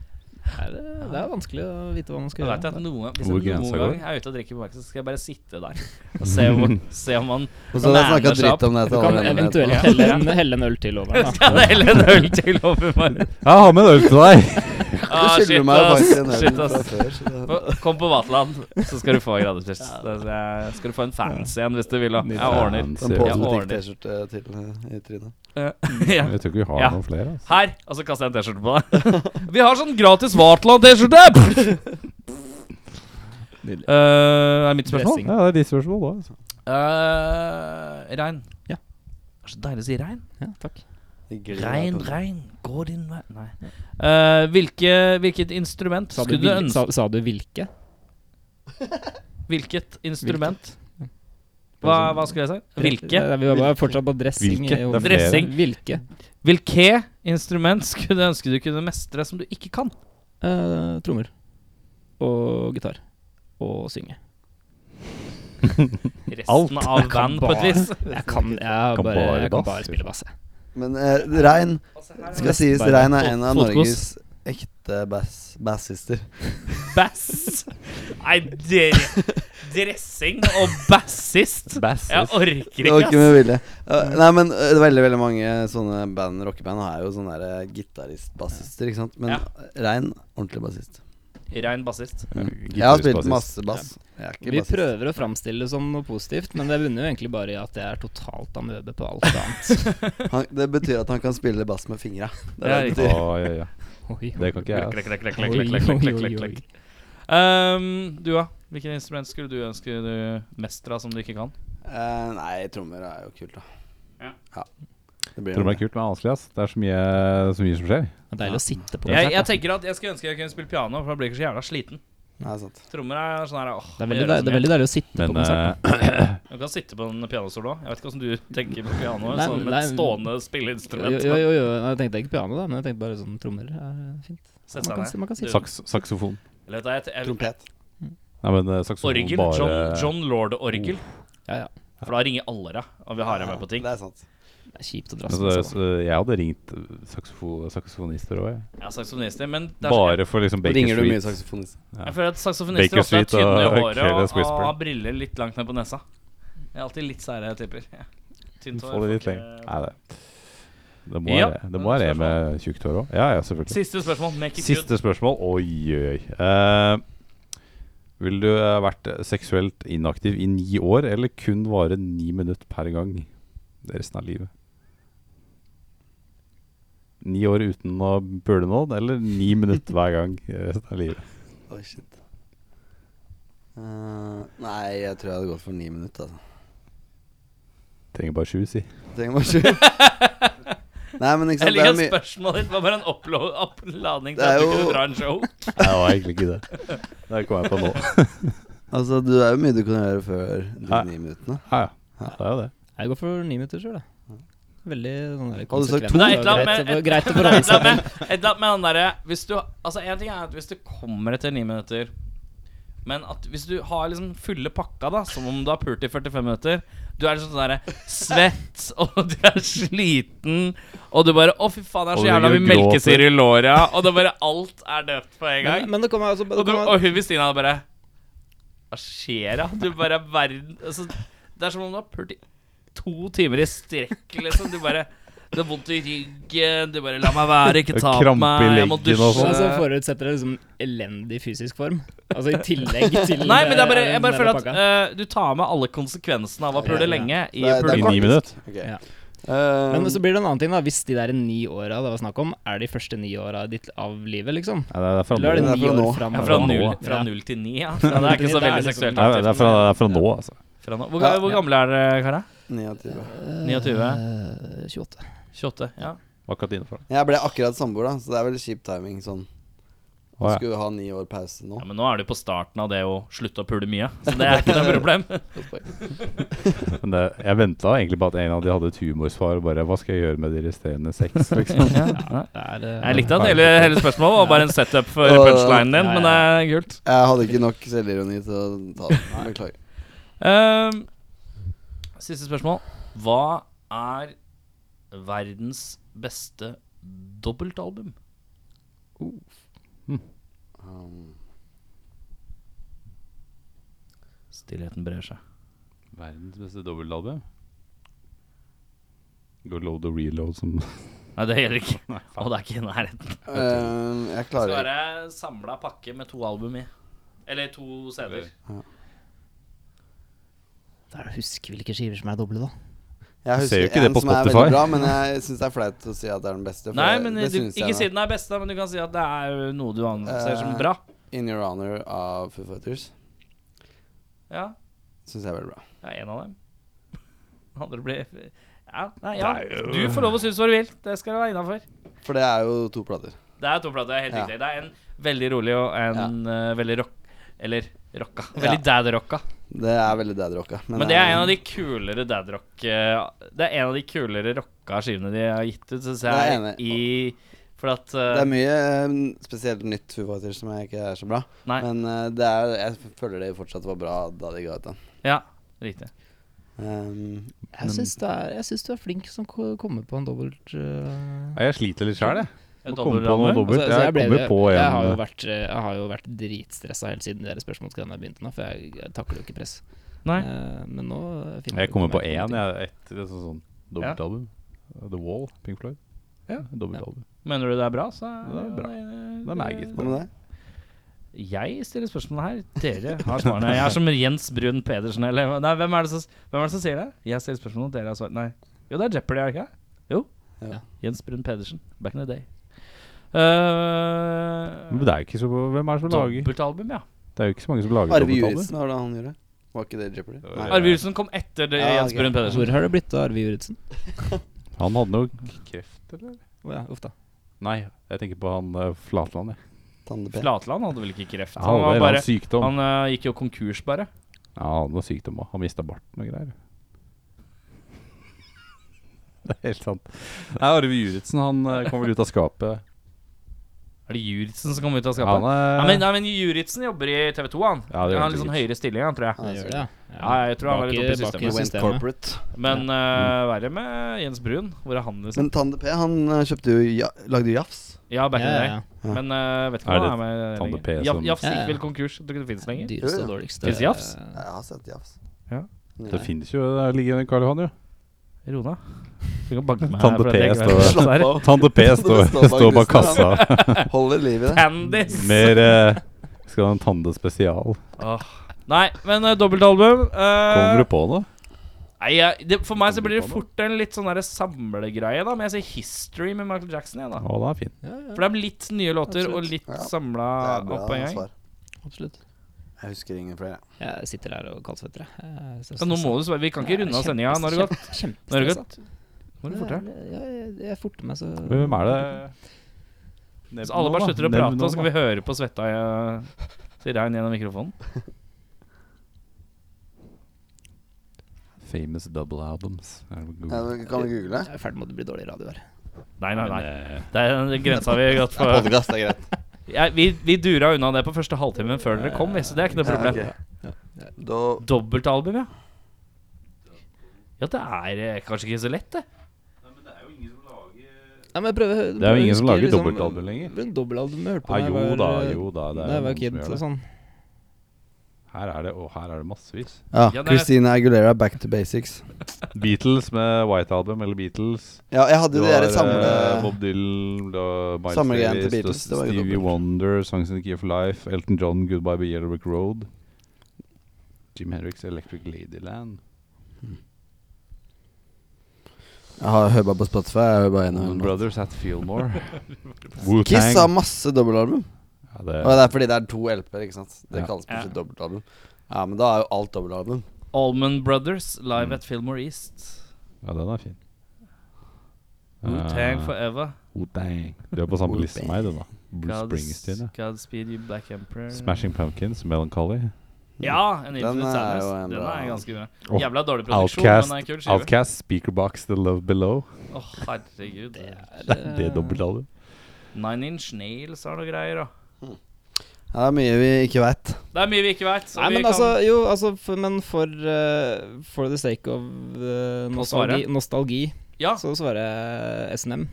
Nei, det, det er vanskelig å vite hva man Jeg skal vet gjøre. at noe, Hvis Hvor jeg grensa noen går. gang er ute og drikker på markedet, så skal jeg bare sitte der og se, hvor, se om man Og så hadde jeg snakka manner seg opp. dritt om det Du til kan alle vennene eventuelt etterpå. helle en, helle en øl til over den. da. Ja, det er heller en øl til over meg. Jeg har med en øl til deg! Ah, Du shit, skylder meg ass. faktisk en Shit, øl fra ass. før. så det- Få- Kom på Vaterland, så skal du få en gratis pils. Da skal jeg- Skal du få en fancy en hvis du vil. da. Jeg ordner. Den Ja, påsen ordentlig. T-skjorte til eh, i trynet. Ja. Jeg tror ikke vi har Ja. noen flere. Altså. Her! Og så kaster jeg en T-skjorte på deg. Vi har sånn gratis Vaterland-T-skjorte! Nydelig. Eh, er mitt spørsmål? Dressing. Ja, det er ditt spørsmål da, Altså. Eh, regn. Ja. Det er så deilig å si regn. Ja, takk. Regn, regn, gå din vei Nei. Eh, hvilke, hvilket instrument Sa du, skulle du vil, sa, ønske sa du hvilke? Hvilket instrument? Hva, hva skulle jeg si? Hvilke? Ja, Vi var bare fortsatt på dressing. Hvilke? i hodet. Det er flere. Dressing. Hvilke? Hvilke instrument skulle du ønske du kunne mestre som du ikke kan? Eh, trommer. Og gitar. Og synge. Resten av Jeg kan band, på et bare- vis. Jeg kan, jeg Kan bare, bare jeg kan bass, bare du. spille bass. jeg. Men eh, regn Altså, skal sies. Bare Regn er en av fotgods. Norges ekte bass- bassister. Bass Nei, dere Dressing og bassist Jeg orker Det ikke, Mm. var ikke med vilje. Eh, Nei, men eh, veldig veldig mange sånne band, rockeband har jo sånne der, eh, gitarist-bassister, ikke sant. Men Ja. Rein, ordentlig bassist. ass Rein bassist Jeg har spilt masse bass. Jeg er ikke Vi bassist. prøver å framstille det som noe positivt, men det bunner jo egentlig bare i at jeg er totalt amøbe på alt annet. Han, det betyr at han kan spille bass med fingra. Det er Ja, det det riktig. betyr. Å, ja, ja. Oi, Det kan ikke jeg. Klekk, Altså. klekk, klekk, oi, klekk, klekk, klekk, klekk, klekk, oi, klekk, oi. klekk. Ehm, Du da, hvilken instrument skulle du ønske du mestra som du ikke kan? Eh, nei, trommer er jo kult, da. Ja. Det blir Tror det jo er kult, men vanskelig. ass. Det er så mye, så mye som skjer. Det er deilig å sitte på Jeg, konsert. jeg da. tenker at jeg skulle ønske jeg kunne spille piano For da blir jeg ikke så jævla sliten Nei, sant. Trommer er sånn her åh, Det er jeg veldig, gjør deil- det er så mye. veldig deilig å sitte på Men konsert. da. eh, Du kan sitte på en pianostol også Jeg vet ikke hvordan du tenker på piano Nei, Sånn med nei. et stående Jo, spilleinstrument jo, jo, jo. Nei, Jeg tenkte ikke piano, da, men jeg tenkte bare sånn trommer er fint. Sett seg Man kan, ned si- sånn. man kan sitte. saks, saksofon. Eller vet du, jeg- jeg- Trompet. Nei, men eh, saksofon Orgel, bare John, John Lord-orgel Ja, ja. For da ringer alle deg, og vi har deg med på ting. Det er sant. Det er kjipt å dra Altså, seg det er- så jeg hadde ringt eh, saksofo, saksofonister òg, jeg. Jeg er saksofonister, men det er så- Bare for liksom Baker Ringer du mye Street. saksofonist? jeg føler at saksofonister Baker ofte er Street og tynne i håret Careless og, Whisper. og har briller litt langt ned på nesa. Jeg er alltid litt sære typer. Ja. Tynt eh, Få det litt får ikke- lenger. Nei, det Det må Ja, være det må det er være med tjukt hår òg. Ja, ja, selvfølgelig. Siste spørsmål. Make it good. Siste spørsmål. Oi, oi, oi. Eh, Vil du ha vært seksuelt inaktiv i ni år, eller kun vare ni minutter per gang resten av livet? Ni år uten å pule noen, eller ni minutter hver gang resten av livet? Oi, shit. Eh, nei, jeg tror jeg hadde gått for ni minutter. Altså. Trenger bare sju, si. Trenger bare sju. Nei, men ikke sant, Jeg det er liker at mye spørsmålet ditt var bare en opplo- oppladning til Det er at du jo- kunne dra en show. Nei, det var egentlig ikke det. Det kom jeg på nå. Altså, du er jo mye du kan gjøre før de Nei. ni minuttene. Ja, ja. Det er jo det. Jeg går for ni minutter sjøl, jeg. Veldig sånn der Hadde du sagt konsekvent. to? Men det er et eller og annet med- greit å- Men det er Greit å et eller forholde seg til. annet med- et eller annet med han derre Hvis du Altså, en ting er at hvis du kommer etter ni minutter men at hvis du har liksom fulle pakka, da som om du har pult i 45 minutter Du er liksom sånn derre svett, og du er sliten, og du bare Å, fy faen, det er Og så du jævla ligger mye og gråter. melkesyre i låra, og det bare Alt er døpt på en gang. Men, men det kommer altså det Og, du, kommer- og hun ved siden av bare Hva skjer da? Du bare er verden altså, Det er som om du har pult i to timer i strekk, liksom. Du bare Du har vondt i ryggen, du bare 'La meg være, ikke Det er ta på krampe i meg, jeg må leggen og dusje'. sånn. Altså forutsetter det liksom elendig fysisk form. Altså i tillegg til Nei, men det er bare, jeg bare den føler der at pakka. eh, du tar med alle konsekvensene av å pule Ja, ja. lenge i Det er- det I er puling. ni minutter. Ok. Ja. Ehm, Men så blir det en annen ting, da. Hvis de der ni åra det var snakk om, er de første ni åra ditt av livet, liksom? Nei, det er fra nå. Eller er Det det er ni fra nå. år fram? Ja, fra nå, null, ja. fra null til ni, ja. Det er ikke så Det veldig er liksom- seksuelt Nei, det er aktivt. fra, det er fra nå, altså. Fra nå. Hvor, Ja. hvor gamle er dere, Kara? 29. 29? Eh, 28. 28? Ja. Akkurat innenfor. Jeg ble akkurat samboer, da, så det er veldig kjip timing. Sånn. Å, ja. Skulle ha ni år pause nå. ja, Men nå er du på starten av det å slutte å pule mye, så det er ikke noe problem. Men det, jeg venta egentlig på at en av de hadde et humorsvar. Bare hva skal jeg gjøre med de resterende seks? Liksom. Ja. Det er, eh, Jeg likte at hele, hele spørsmålet var bare en setup for punchlinen din, men det er kult. Jeg hadde ikke nok selvironi til å ta det. Beklager. Ehm, siste spørsmål. Hva er verdens beste dobbeltalbum? Um, Stillheten brer seg. Verdens beste dobbeltalbum. Go load og reload som Nei, det gjelder ikke. Å, det er ikke i nærheten. ehm, jeg Det skal klarer ikke. være samla pakke med to album i. Eller to CD-er. Da er eh, det å huske hvilke skiver som er doble, da. Jeg Du ser jo husker ikke det en på som er Spotify. veldig bra, men jeg syns det er flaut å si at det er den beste. for Nei, det- men det du, synes jeg Eh. ikke si nå. den er beste, men du kan si at det er noe du anser som bra. In Your Honor av Foo Fighters Ja, syns jeg er veldig bra. ja en av dem. Den andre blir ja, nei, ja. Du får lov å synes hva du vil. Det skal du være innafor. For det er jo to plater. Det er to plater, det er helt Ja. riktig. Det er en veldig rolig og en eh, veldig rock... Eller rocka. Veldig dad-rocka. Det er veldig dad rocka. Men det er en av de kulere dad-rock eh, Det er en av de kulere rocka skivene de har gitt ut, syns er jeg. jeg enig I For at Det eh, er mye ehm, spesielt nytt Foo Fighters som jeg ikke er så bra. Nei. Men eh, det er, jeg føler det fortsatt var bra da de ga ut den. Ja, riktig. Ehm, Jeg syns, det er, jeg syns du er flink som ko- kommer på en dobbelt eh, Nei, Jeg sliter litt sjæl, jeg. Må Et komme på dobbeltalbum. noe dobbelt. Altså, altså, jeg ble- kommer på en jeg har jo vært, eh, jeg har jo vært dritstressa helt siden dere spørsmålsgreiene begynte nå, for jeg, jeg takler jo ikke press. Nei. Eh, men nå finner Jeg kommer ut på om jeg én, kommer jeg. Ett det er sånn, sånn dobbeltalbum. The Wall, Pink Floyd. Ja. Dobbeltalbum. Mener du det er bra, så Det er bra. Det er meget Hva bra. med det? Jeg stiller spørsmål her. Dere har svarene. Jeg er som Jens Brun Pedersen eller Nei, hvem er det som, hvem er det som sier det? Jeg stiller spørsmål, dere har svar. Nei. Jo, det er Jeopardy, er det ikke? det? Jo. Ja. Jens Brun Pedersen. Back in the day. Eh, Men det er jo ikke så Hvem er det som lager Dobbeltalbum, ja. Det er jo ikke så mange som lager Arve dobbeltalbum. Juritzen, hva var det han gjorde? Var ikke det Jeopardy? Det var- Nei. Ar- Arve Juritzen kom etter det, Ja, Jens ok. Brun til. Pedersen. Hvor har det sånn. blitt av Arve Juritzen? Han hadde noe kreft, eller? Å ja, uff da. Nei, jeg tenker på han eh, Flatland, jeg. Tande P. Flatland hadde vel ikke kreft? Han Han, hadde en var eller bare, annen sykdom. han eh, gikk jo konkurs, bare. Ja, han hadde noe sykdom òg. Han mista barten og greier. Det er helt sant. Nei, Arve Juritzen han eh, kom vel ut av skapet. Er det Juritzen som kom ut av skapet? Han er Ja, men, nei, men Juritzen jobber i TV 2, han. Ja, det gjør han har han litt sånn sikkert. høyere stilling, han, tror jeg. Ja, Jeg gjør det, ja. Ja, jeg tror han var litt oppe i Bak i- bak i systemet. Went systemet. Corporate. Men eh, verre med Jens Brun. Hvor er han, liksom? Men Tande P, han eh, kjøpte jo ja, lagde jo jafs. ja, back in Ja, the ja, day. Men eh, vet ikke Er hva det han er med Tande lenger. P Ja, som- Jafs Ja, ja. gikk vel konkurs. Jeg Tror ikke det finnes ja. lenger. Dyreste Jo, og jo. dårligste. Fins jafs? Ja, jeg har sett jafs. Ja. Det finnes jo Der ligger Karl Johan, jo. Rona. Du kan banke meg Tande for at P jeg ikke står- vet hva det er. Tante P står står bak kassa. Holder liv i det. Tandis! Mer eh, Skal ha en Tande spesial. Åh. Nei, men uh, dobbeltalbum eh, Kommer du på noe? Nei, jeg- det, For meg så Kommer blir du det på fort en litt sånn der samlegreie, da. Men jeg sier History med Michael Jackson igjen, da. Å, det er fint. Ja, ja, For det er litt nye låter og Absolutt. litt Ja. samla Det er opp på bra en gang. svar. absolutt. Jeg husker ingen flere. jeg. Jeg sitter her og kaldsvetter, jeg. jeg. Ja, nå må du svare. Vi kan ikke runde av sendinga. Nå har det gått. Nå har det gått Må du forte deg. Ja, jeg, jeg forter meg, så Hvem er det? Hvis alle bare slutter å prate, så skal vi høre på svetta jeg sier regn gjennom mikrofonen. Famous double albums. Er det Ja, god? men kan vi google det? Jeg er i ferd med å bli dårlig radio her. Nei, nei, nei. Men, eh, Det er den grensa vi har gått for. Podcast er greit. Jeg, vi, vi dura unna det på første halvtimen før dere kom, vi, så det er ikke noe problem. Ja, ok. Da Dobbeltalbum, ja. Ja, det er eh, kanskje ikke så lett, det. Nei, men jeg prøver, Det er jo ingen som lager dobbeltalbum lenger. liksom- Dobbeltalbum jeg hørte på Ah, da jeg jo var, da, eh, jo altså. da. Det da er jeg var noen kid som gjør og det. sånn. Her er det, og her er det massevis. Ja, Ja, det er- Christina Aguilera, Back to Basics. Beatles med White Album, eller Beatles. Ja, jeg hadde Du jo de har, der eh, samle... Bob Dylan, da Miles Samme greien til Davis, da Beatles, det var jo Stevie dobbelt. Wonder, Songs in the Key of Life, Elton John, Goodbye by Yellow Brick Road. Jim Henriks Electric Ladyland. Jeg har hører bare på Spotify. Jeg hører bare Allman gjennom Brothers at Fillmore. Kiss har Wu-Tang. masse dobbeltalbum. Ja, det- Og det er fordi det er to LP-er, ikke sant? Det Ja. kalles plutselig Ja. dobbeltalbum. Ja, men da er jo alt dobbeltalbum. Allman Brothers, Mm. live at Fillmore East. ja, den er fin. Wu-Tang Eh, forever. Wu-Tang. Du er på samme liste som meg, du, da. Bruce God's- Springsteen, ja. Godspeed you black emperor. Smashing Pumpkins, Melancholy. Ja, en Infinite er Sadness. jo en Den bra- er ganske bra. Og Jævla dårlig produksjon, Outcast, men det er en kul skive. Outcast, Speakerbox, The Love Below. Å, herregud. Det Eh, er det dobbeltallet. Nine Inch Nails har noe greier, da. Ja, det er mye vi ikke veit. Det er mye vi ikke veit. Nei, men altså, jo, altså for, Men for eh, For the sake of eh, nostalgi, svare. nostalgi Ja. så svarer jeg SNM.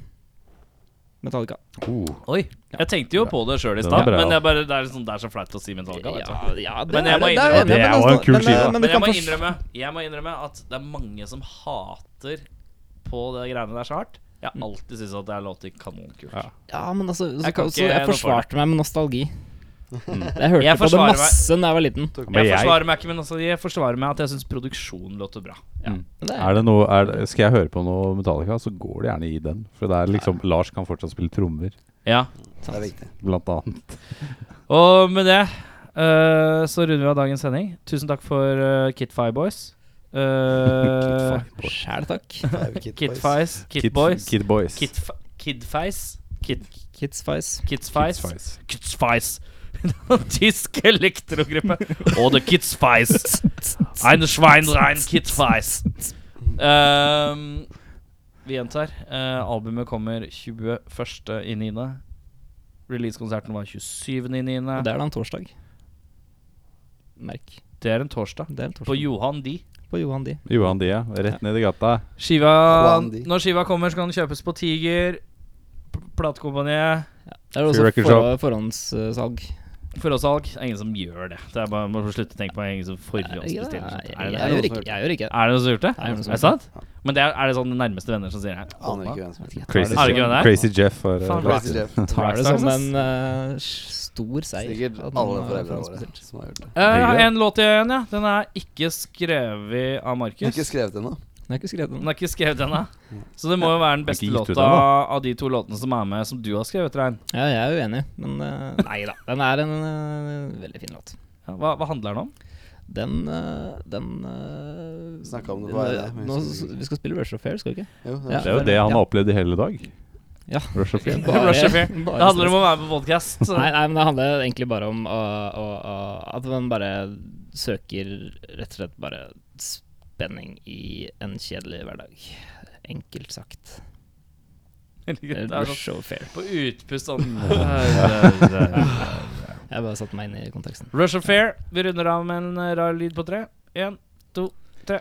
Metallica. Oh. Oi. Jeg tenkte jo på det sjøl i Den er stad, bra, men ja. det er, bare, det er, sånn, det er så flaut å si Metallica. Vet du. ja, det Men jeg er må det, innrømme- det Det er er jeg enig i, men altså, jo en kul men, skive, da. men du Men jeg kan må, forst- innrømme, jeg må innrømme at det er mange som hater på det greiene der så hardt. Jeg Mm. har alltid syntes at det er låter kanonkult. Ja. Ja, men altså så, Jeg jeg, kan så, ikke jeg noe for forsvarte meg med nostalgi. Jeg hørte Jeg på det forsvarer meg- masse da jeg var liten. Men jeg, jeg- forsvarer meg ikke, men altså, jeg forsvarer meg at jeg syns produksjonen låter bra. Ja. Mm. Det er- Er det noe, er, det- skal jeg høre på noe Metallica, så går det gjerne i den. For det er liksom, Lars kan fortsatt spille trommer, ja. Det er viktig. blant annet. Og med det eh, så runder vi av dagens sending. Tusen takk for uh, Kitfy Boys. Eh, Uh, Sjæl takk. Kitfies. Eh, Kid- Kitboys. Kid Boys. Kitf- Kidfies. Kid, Kids Fice. Kidsfies. Kidsfies. Kidsfies. Tysk elektrogruppe. Og The Kidsfies. Eine Schweinrein Kidsfies. Ehm, vi gjentar. eh, albumet kommer 21. i 9. Releasekonserten var 27. i 9. Og det er da en torsdag. Merk. Det er en torsdag. Det er en torsdag. På Johan D. På Johan De. Johan Dia, rett ned i gata. Skiva, Johan D. når skiva kommer, så kan den kjøpes på Tiger, pl- platekompaniet, Det er Free også record for, forhåndssalg. forhåndssalg. Det er ingen som gjør det. Det er bare, Man må slutte å tenke på ingen som forhåndsbestiller. Nei, sånt. jeg, Er det- jeg, er det- gjør ikke, jeg gjør ikke det. Er det noen som har gjort det? Nei, Er noen som det har gjort sant? Men det er, er det sånn nærmeste venner som sier det? Aner ikke hvem som Jeg tar Crazy, Er det det som- ikke det? Crazy Jeff. Var, Faen, var- Crazy Jeff. Tar det Rockstars, som ass. en eh, stor seier. Sikkert at alle man har foreldrene våre forhåndsbestilt. som har gjort det. Eh, Jeg har Hyggelig. en låt igjen, ja. Den er ikke skrevet av Jeg har ikke Markus. skrevet ennå. Den er ikke skrevet Den den. er ikke skrevet ennå. Så det må jo være den beste Den er ikke gitt ut låta ennå. av de to låtene som er med, som du har skrevet, Rein. Ja, jeg er uenig, men eh, Nei da. Den er en eh, veldig fin låt. Ja, Hva, hva handler den om? Den eh, Den eh, Snakket om det på nå- vei der, men Nå, jeg husker ikke. vi skal spille Rush of Fair, skal vi ikke? Jo, det Ja. er- Det er jo det han Ja. har opplevd i hele dag. Ja. Rush of Fear. Bare- Rush of Fear. Det bare handler om å være på podkast. Nei, nei, men det handler egentlig bare om å, å, å, at man bare søker rett og slett bare spenning i en kjedelig hverdag. Enkelt sagt. Det er Sånn, Rush of fair. på utpust sånn. Jeg bare satte meg inn i konteksten. Rush of Fair. Vi runder av med en eh, rar lyd på tre. Én, to, tre.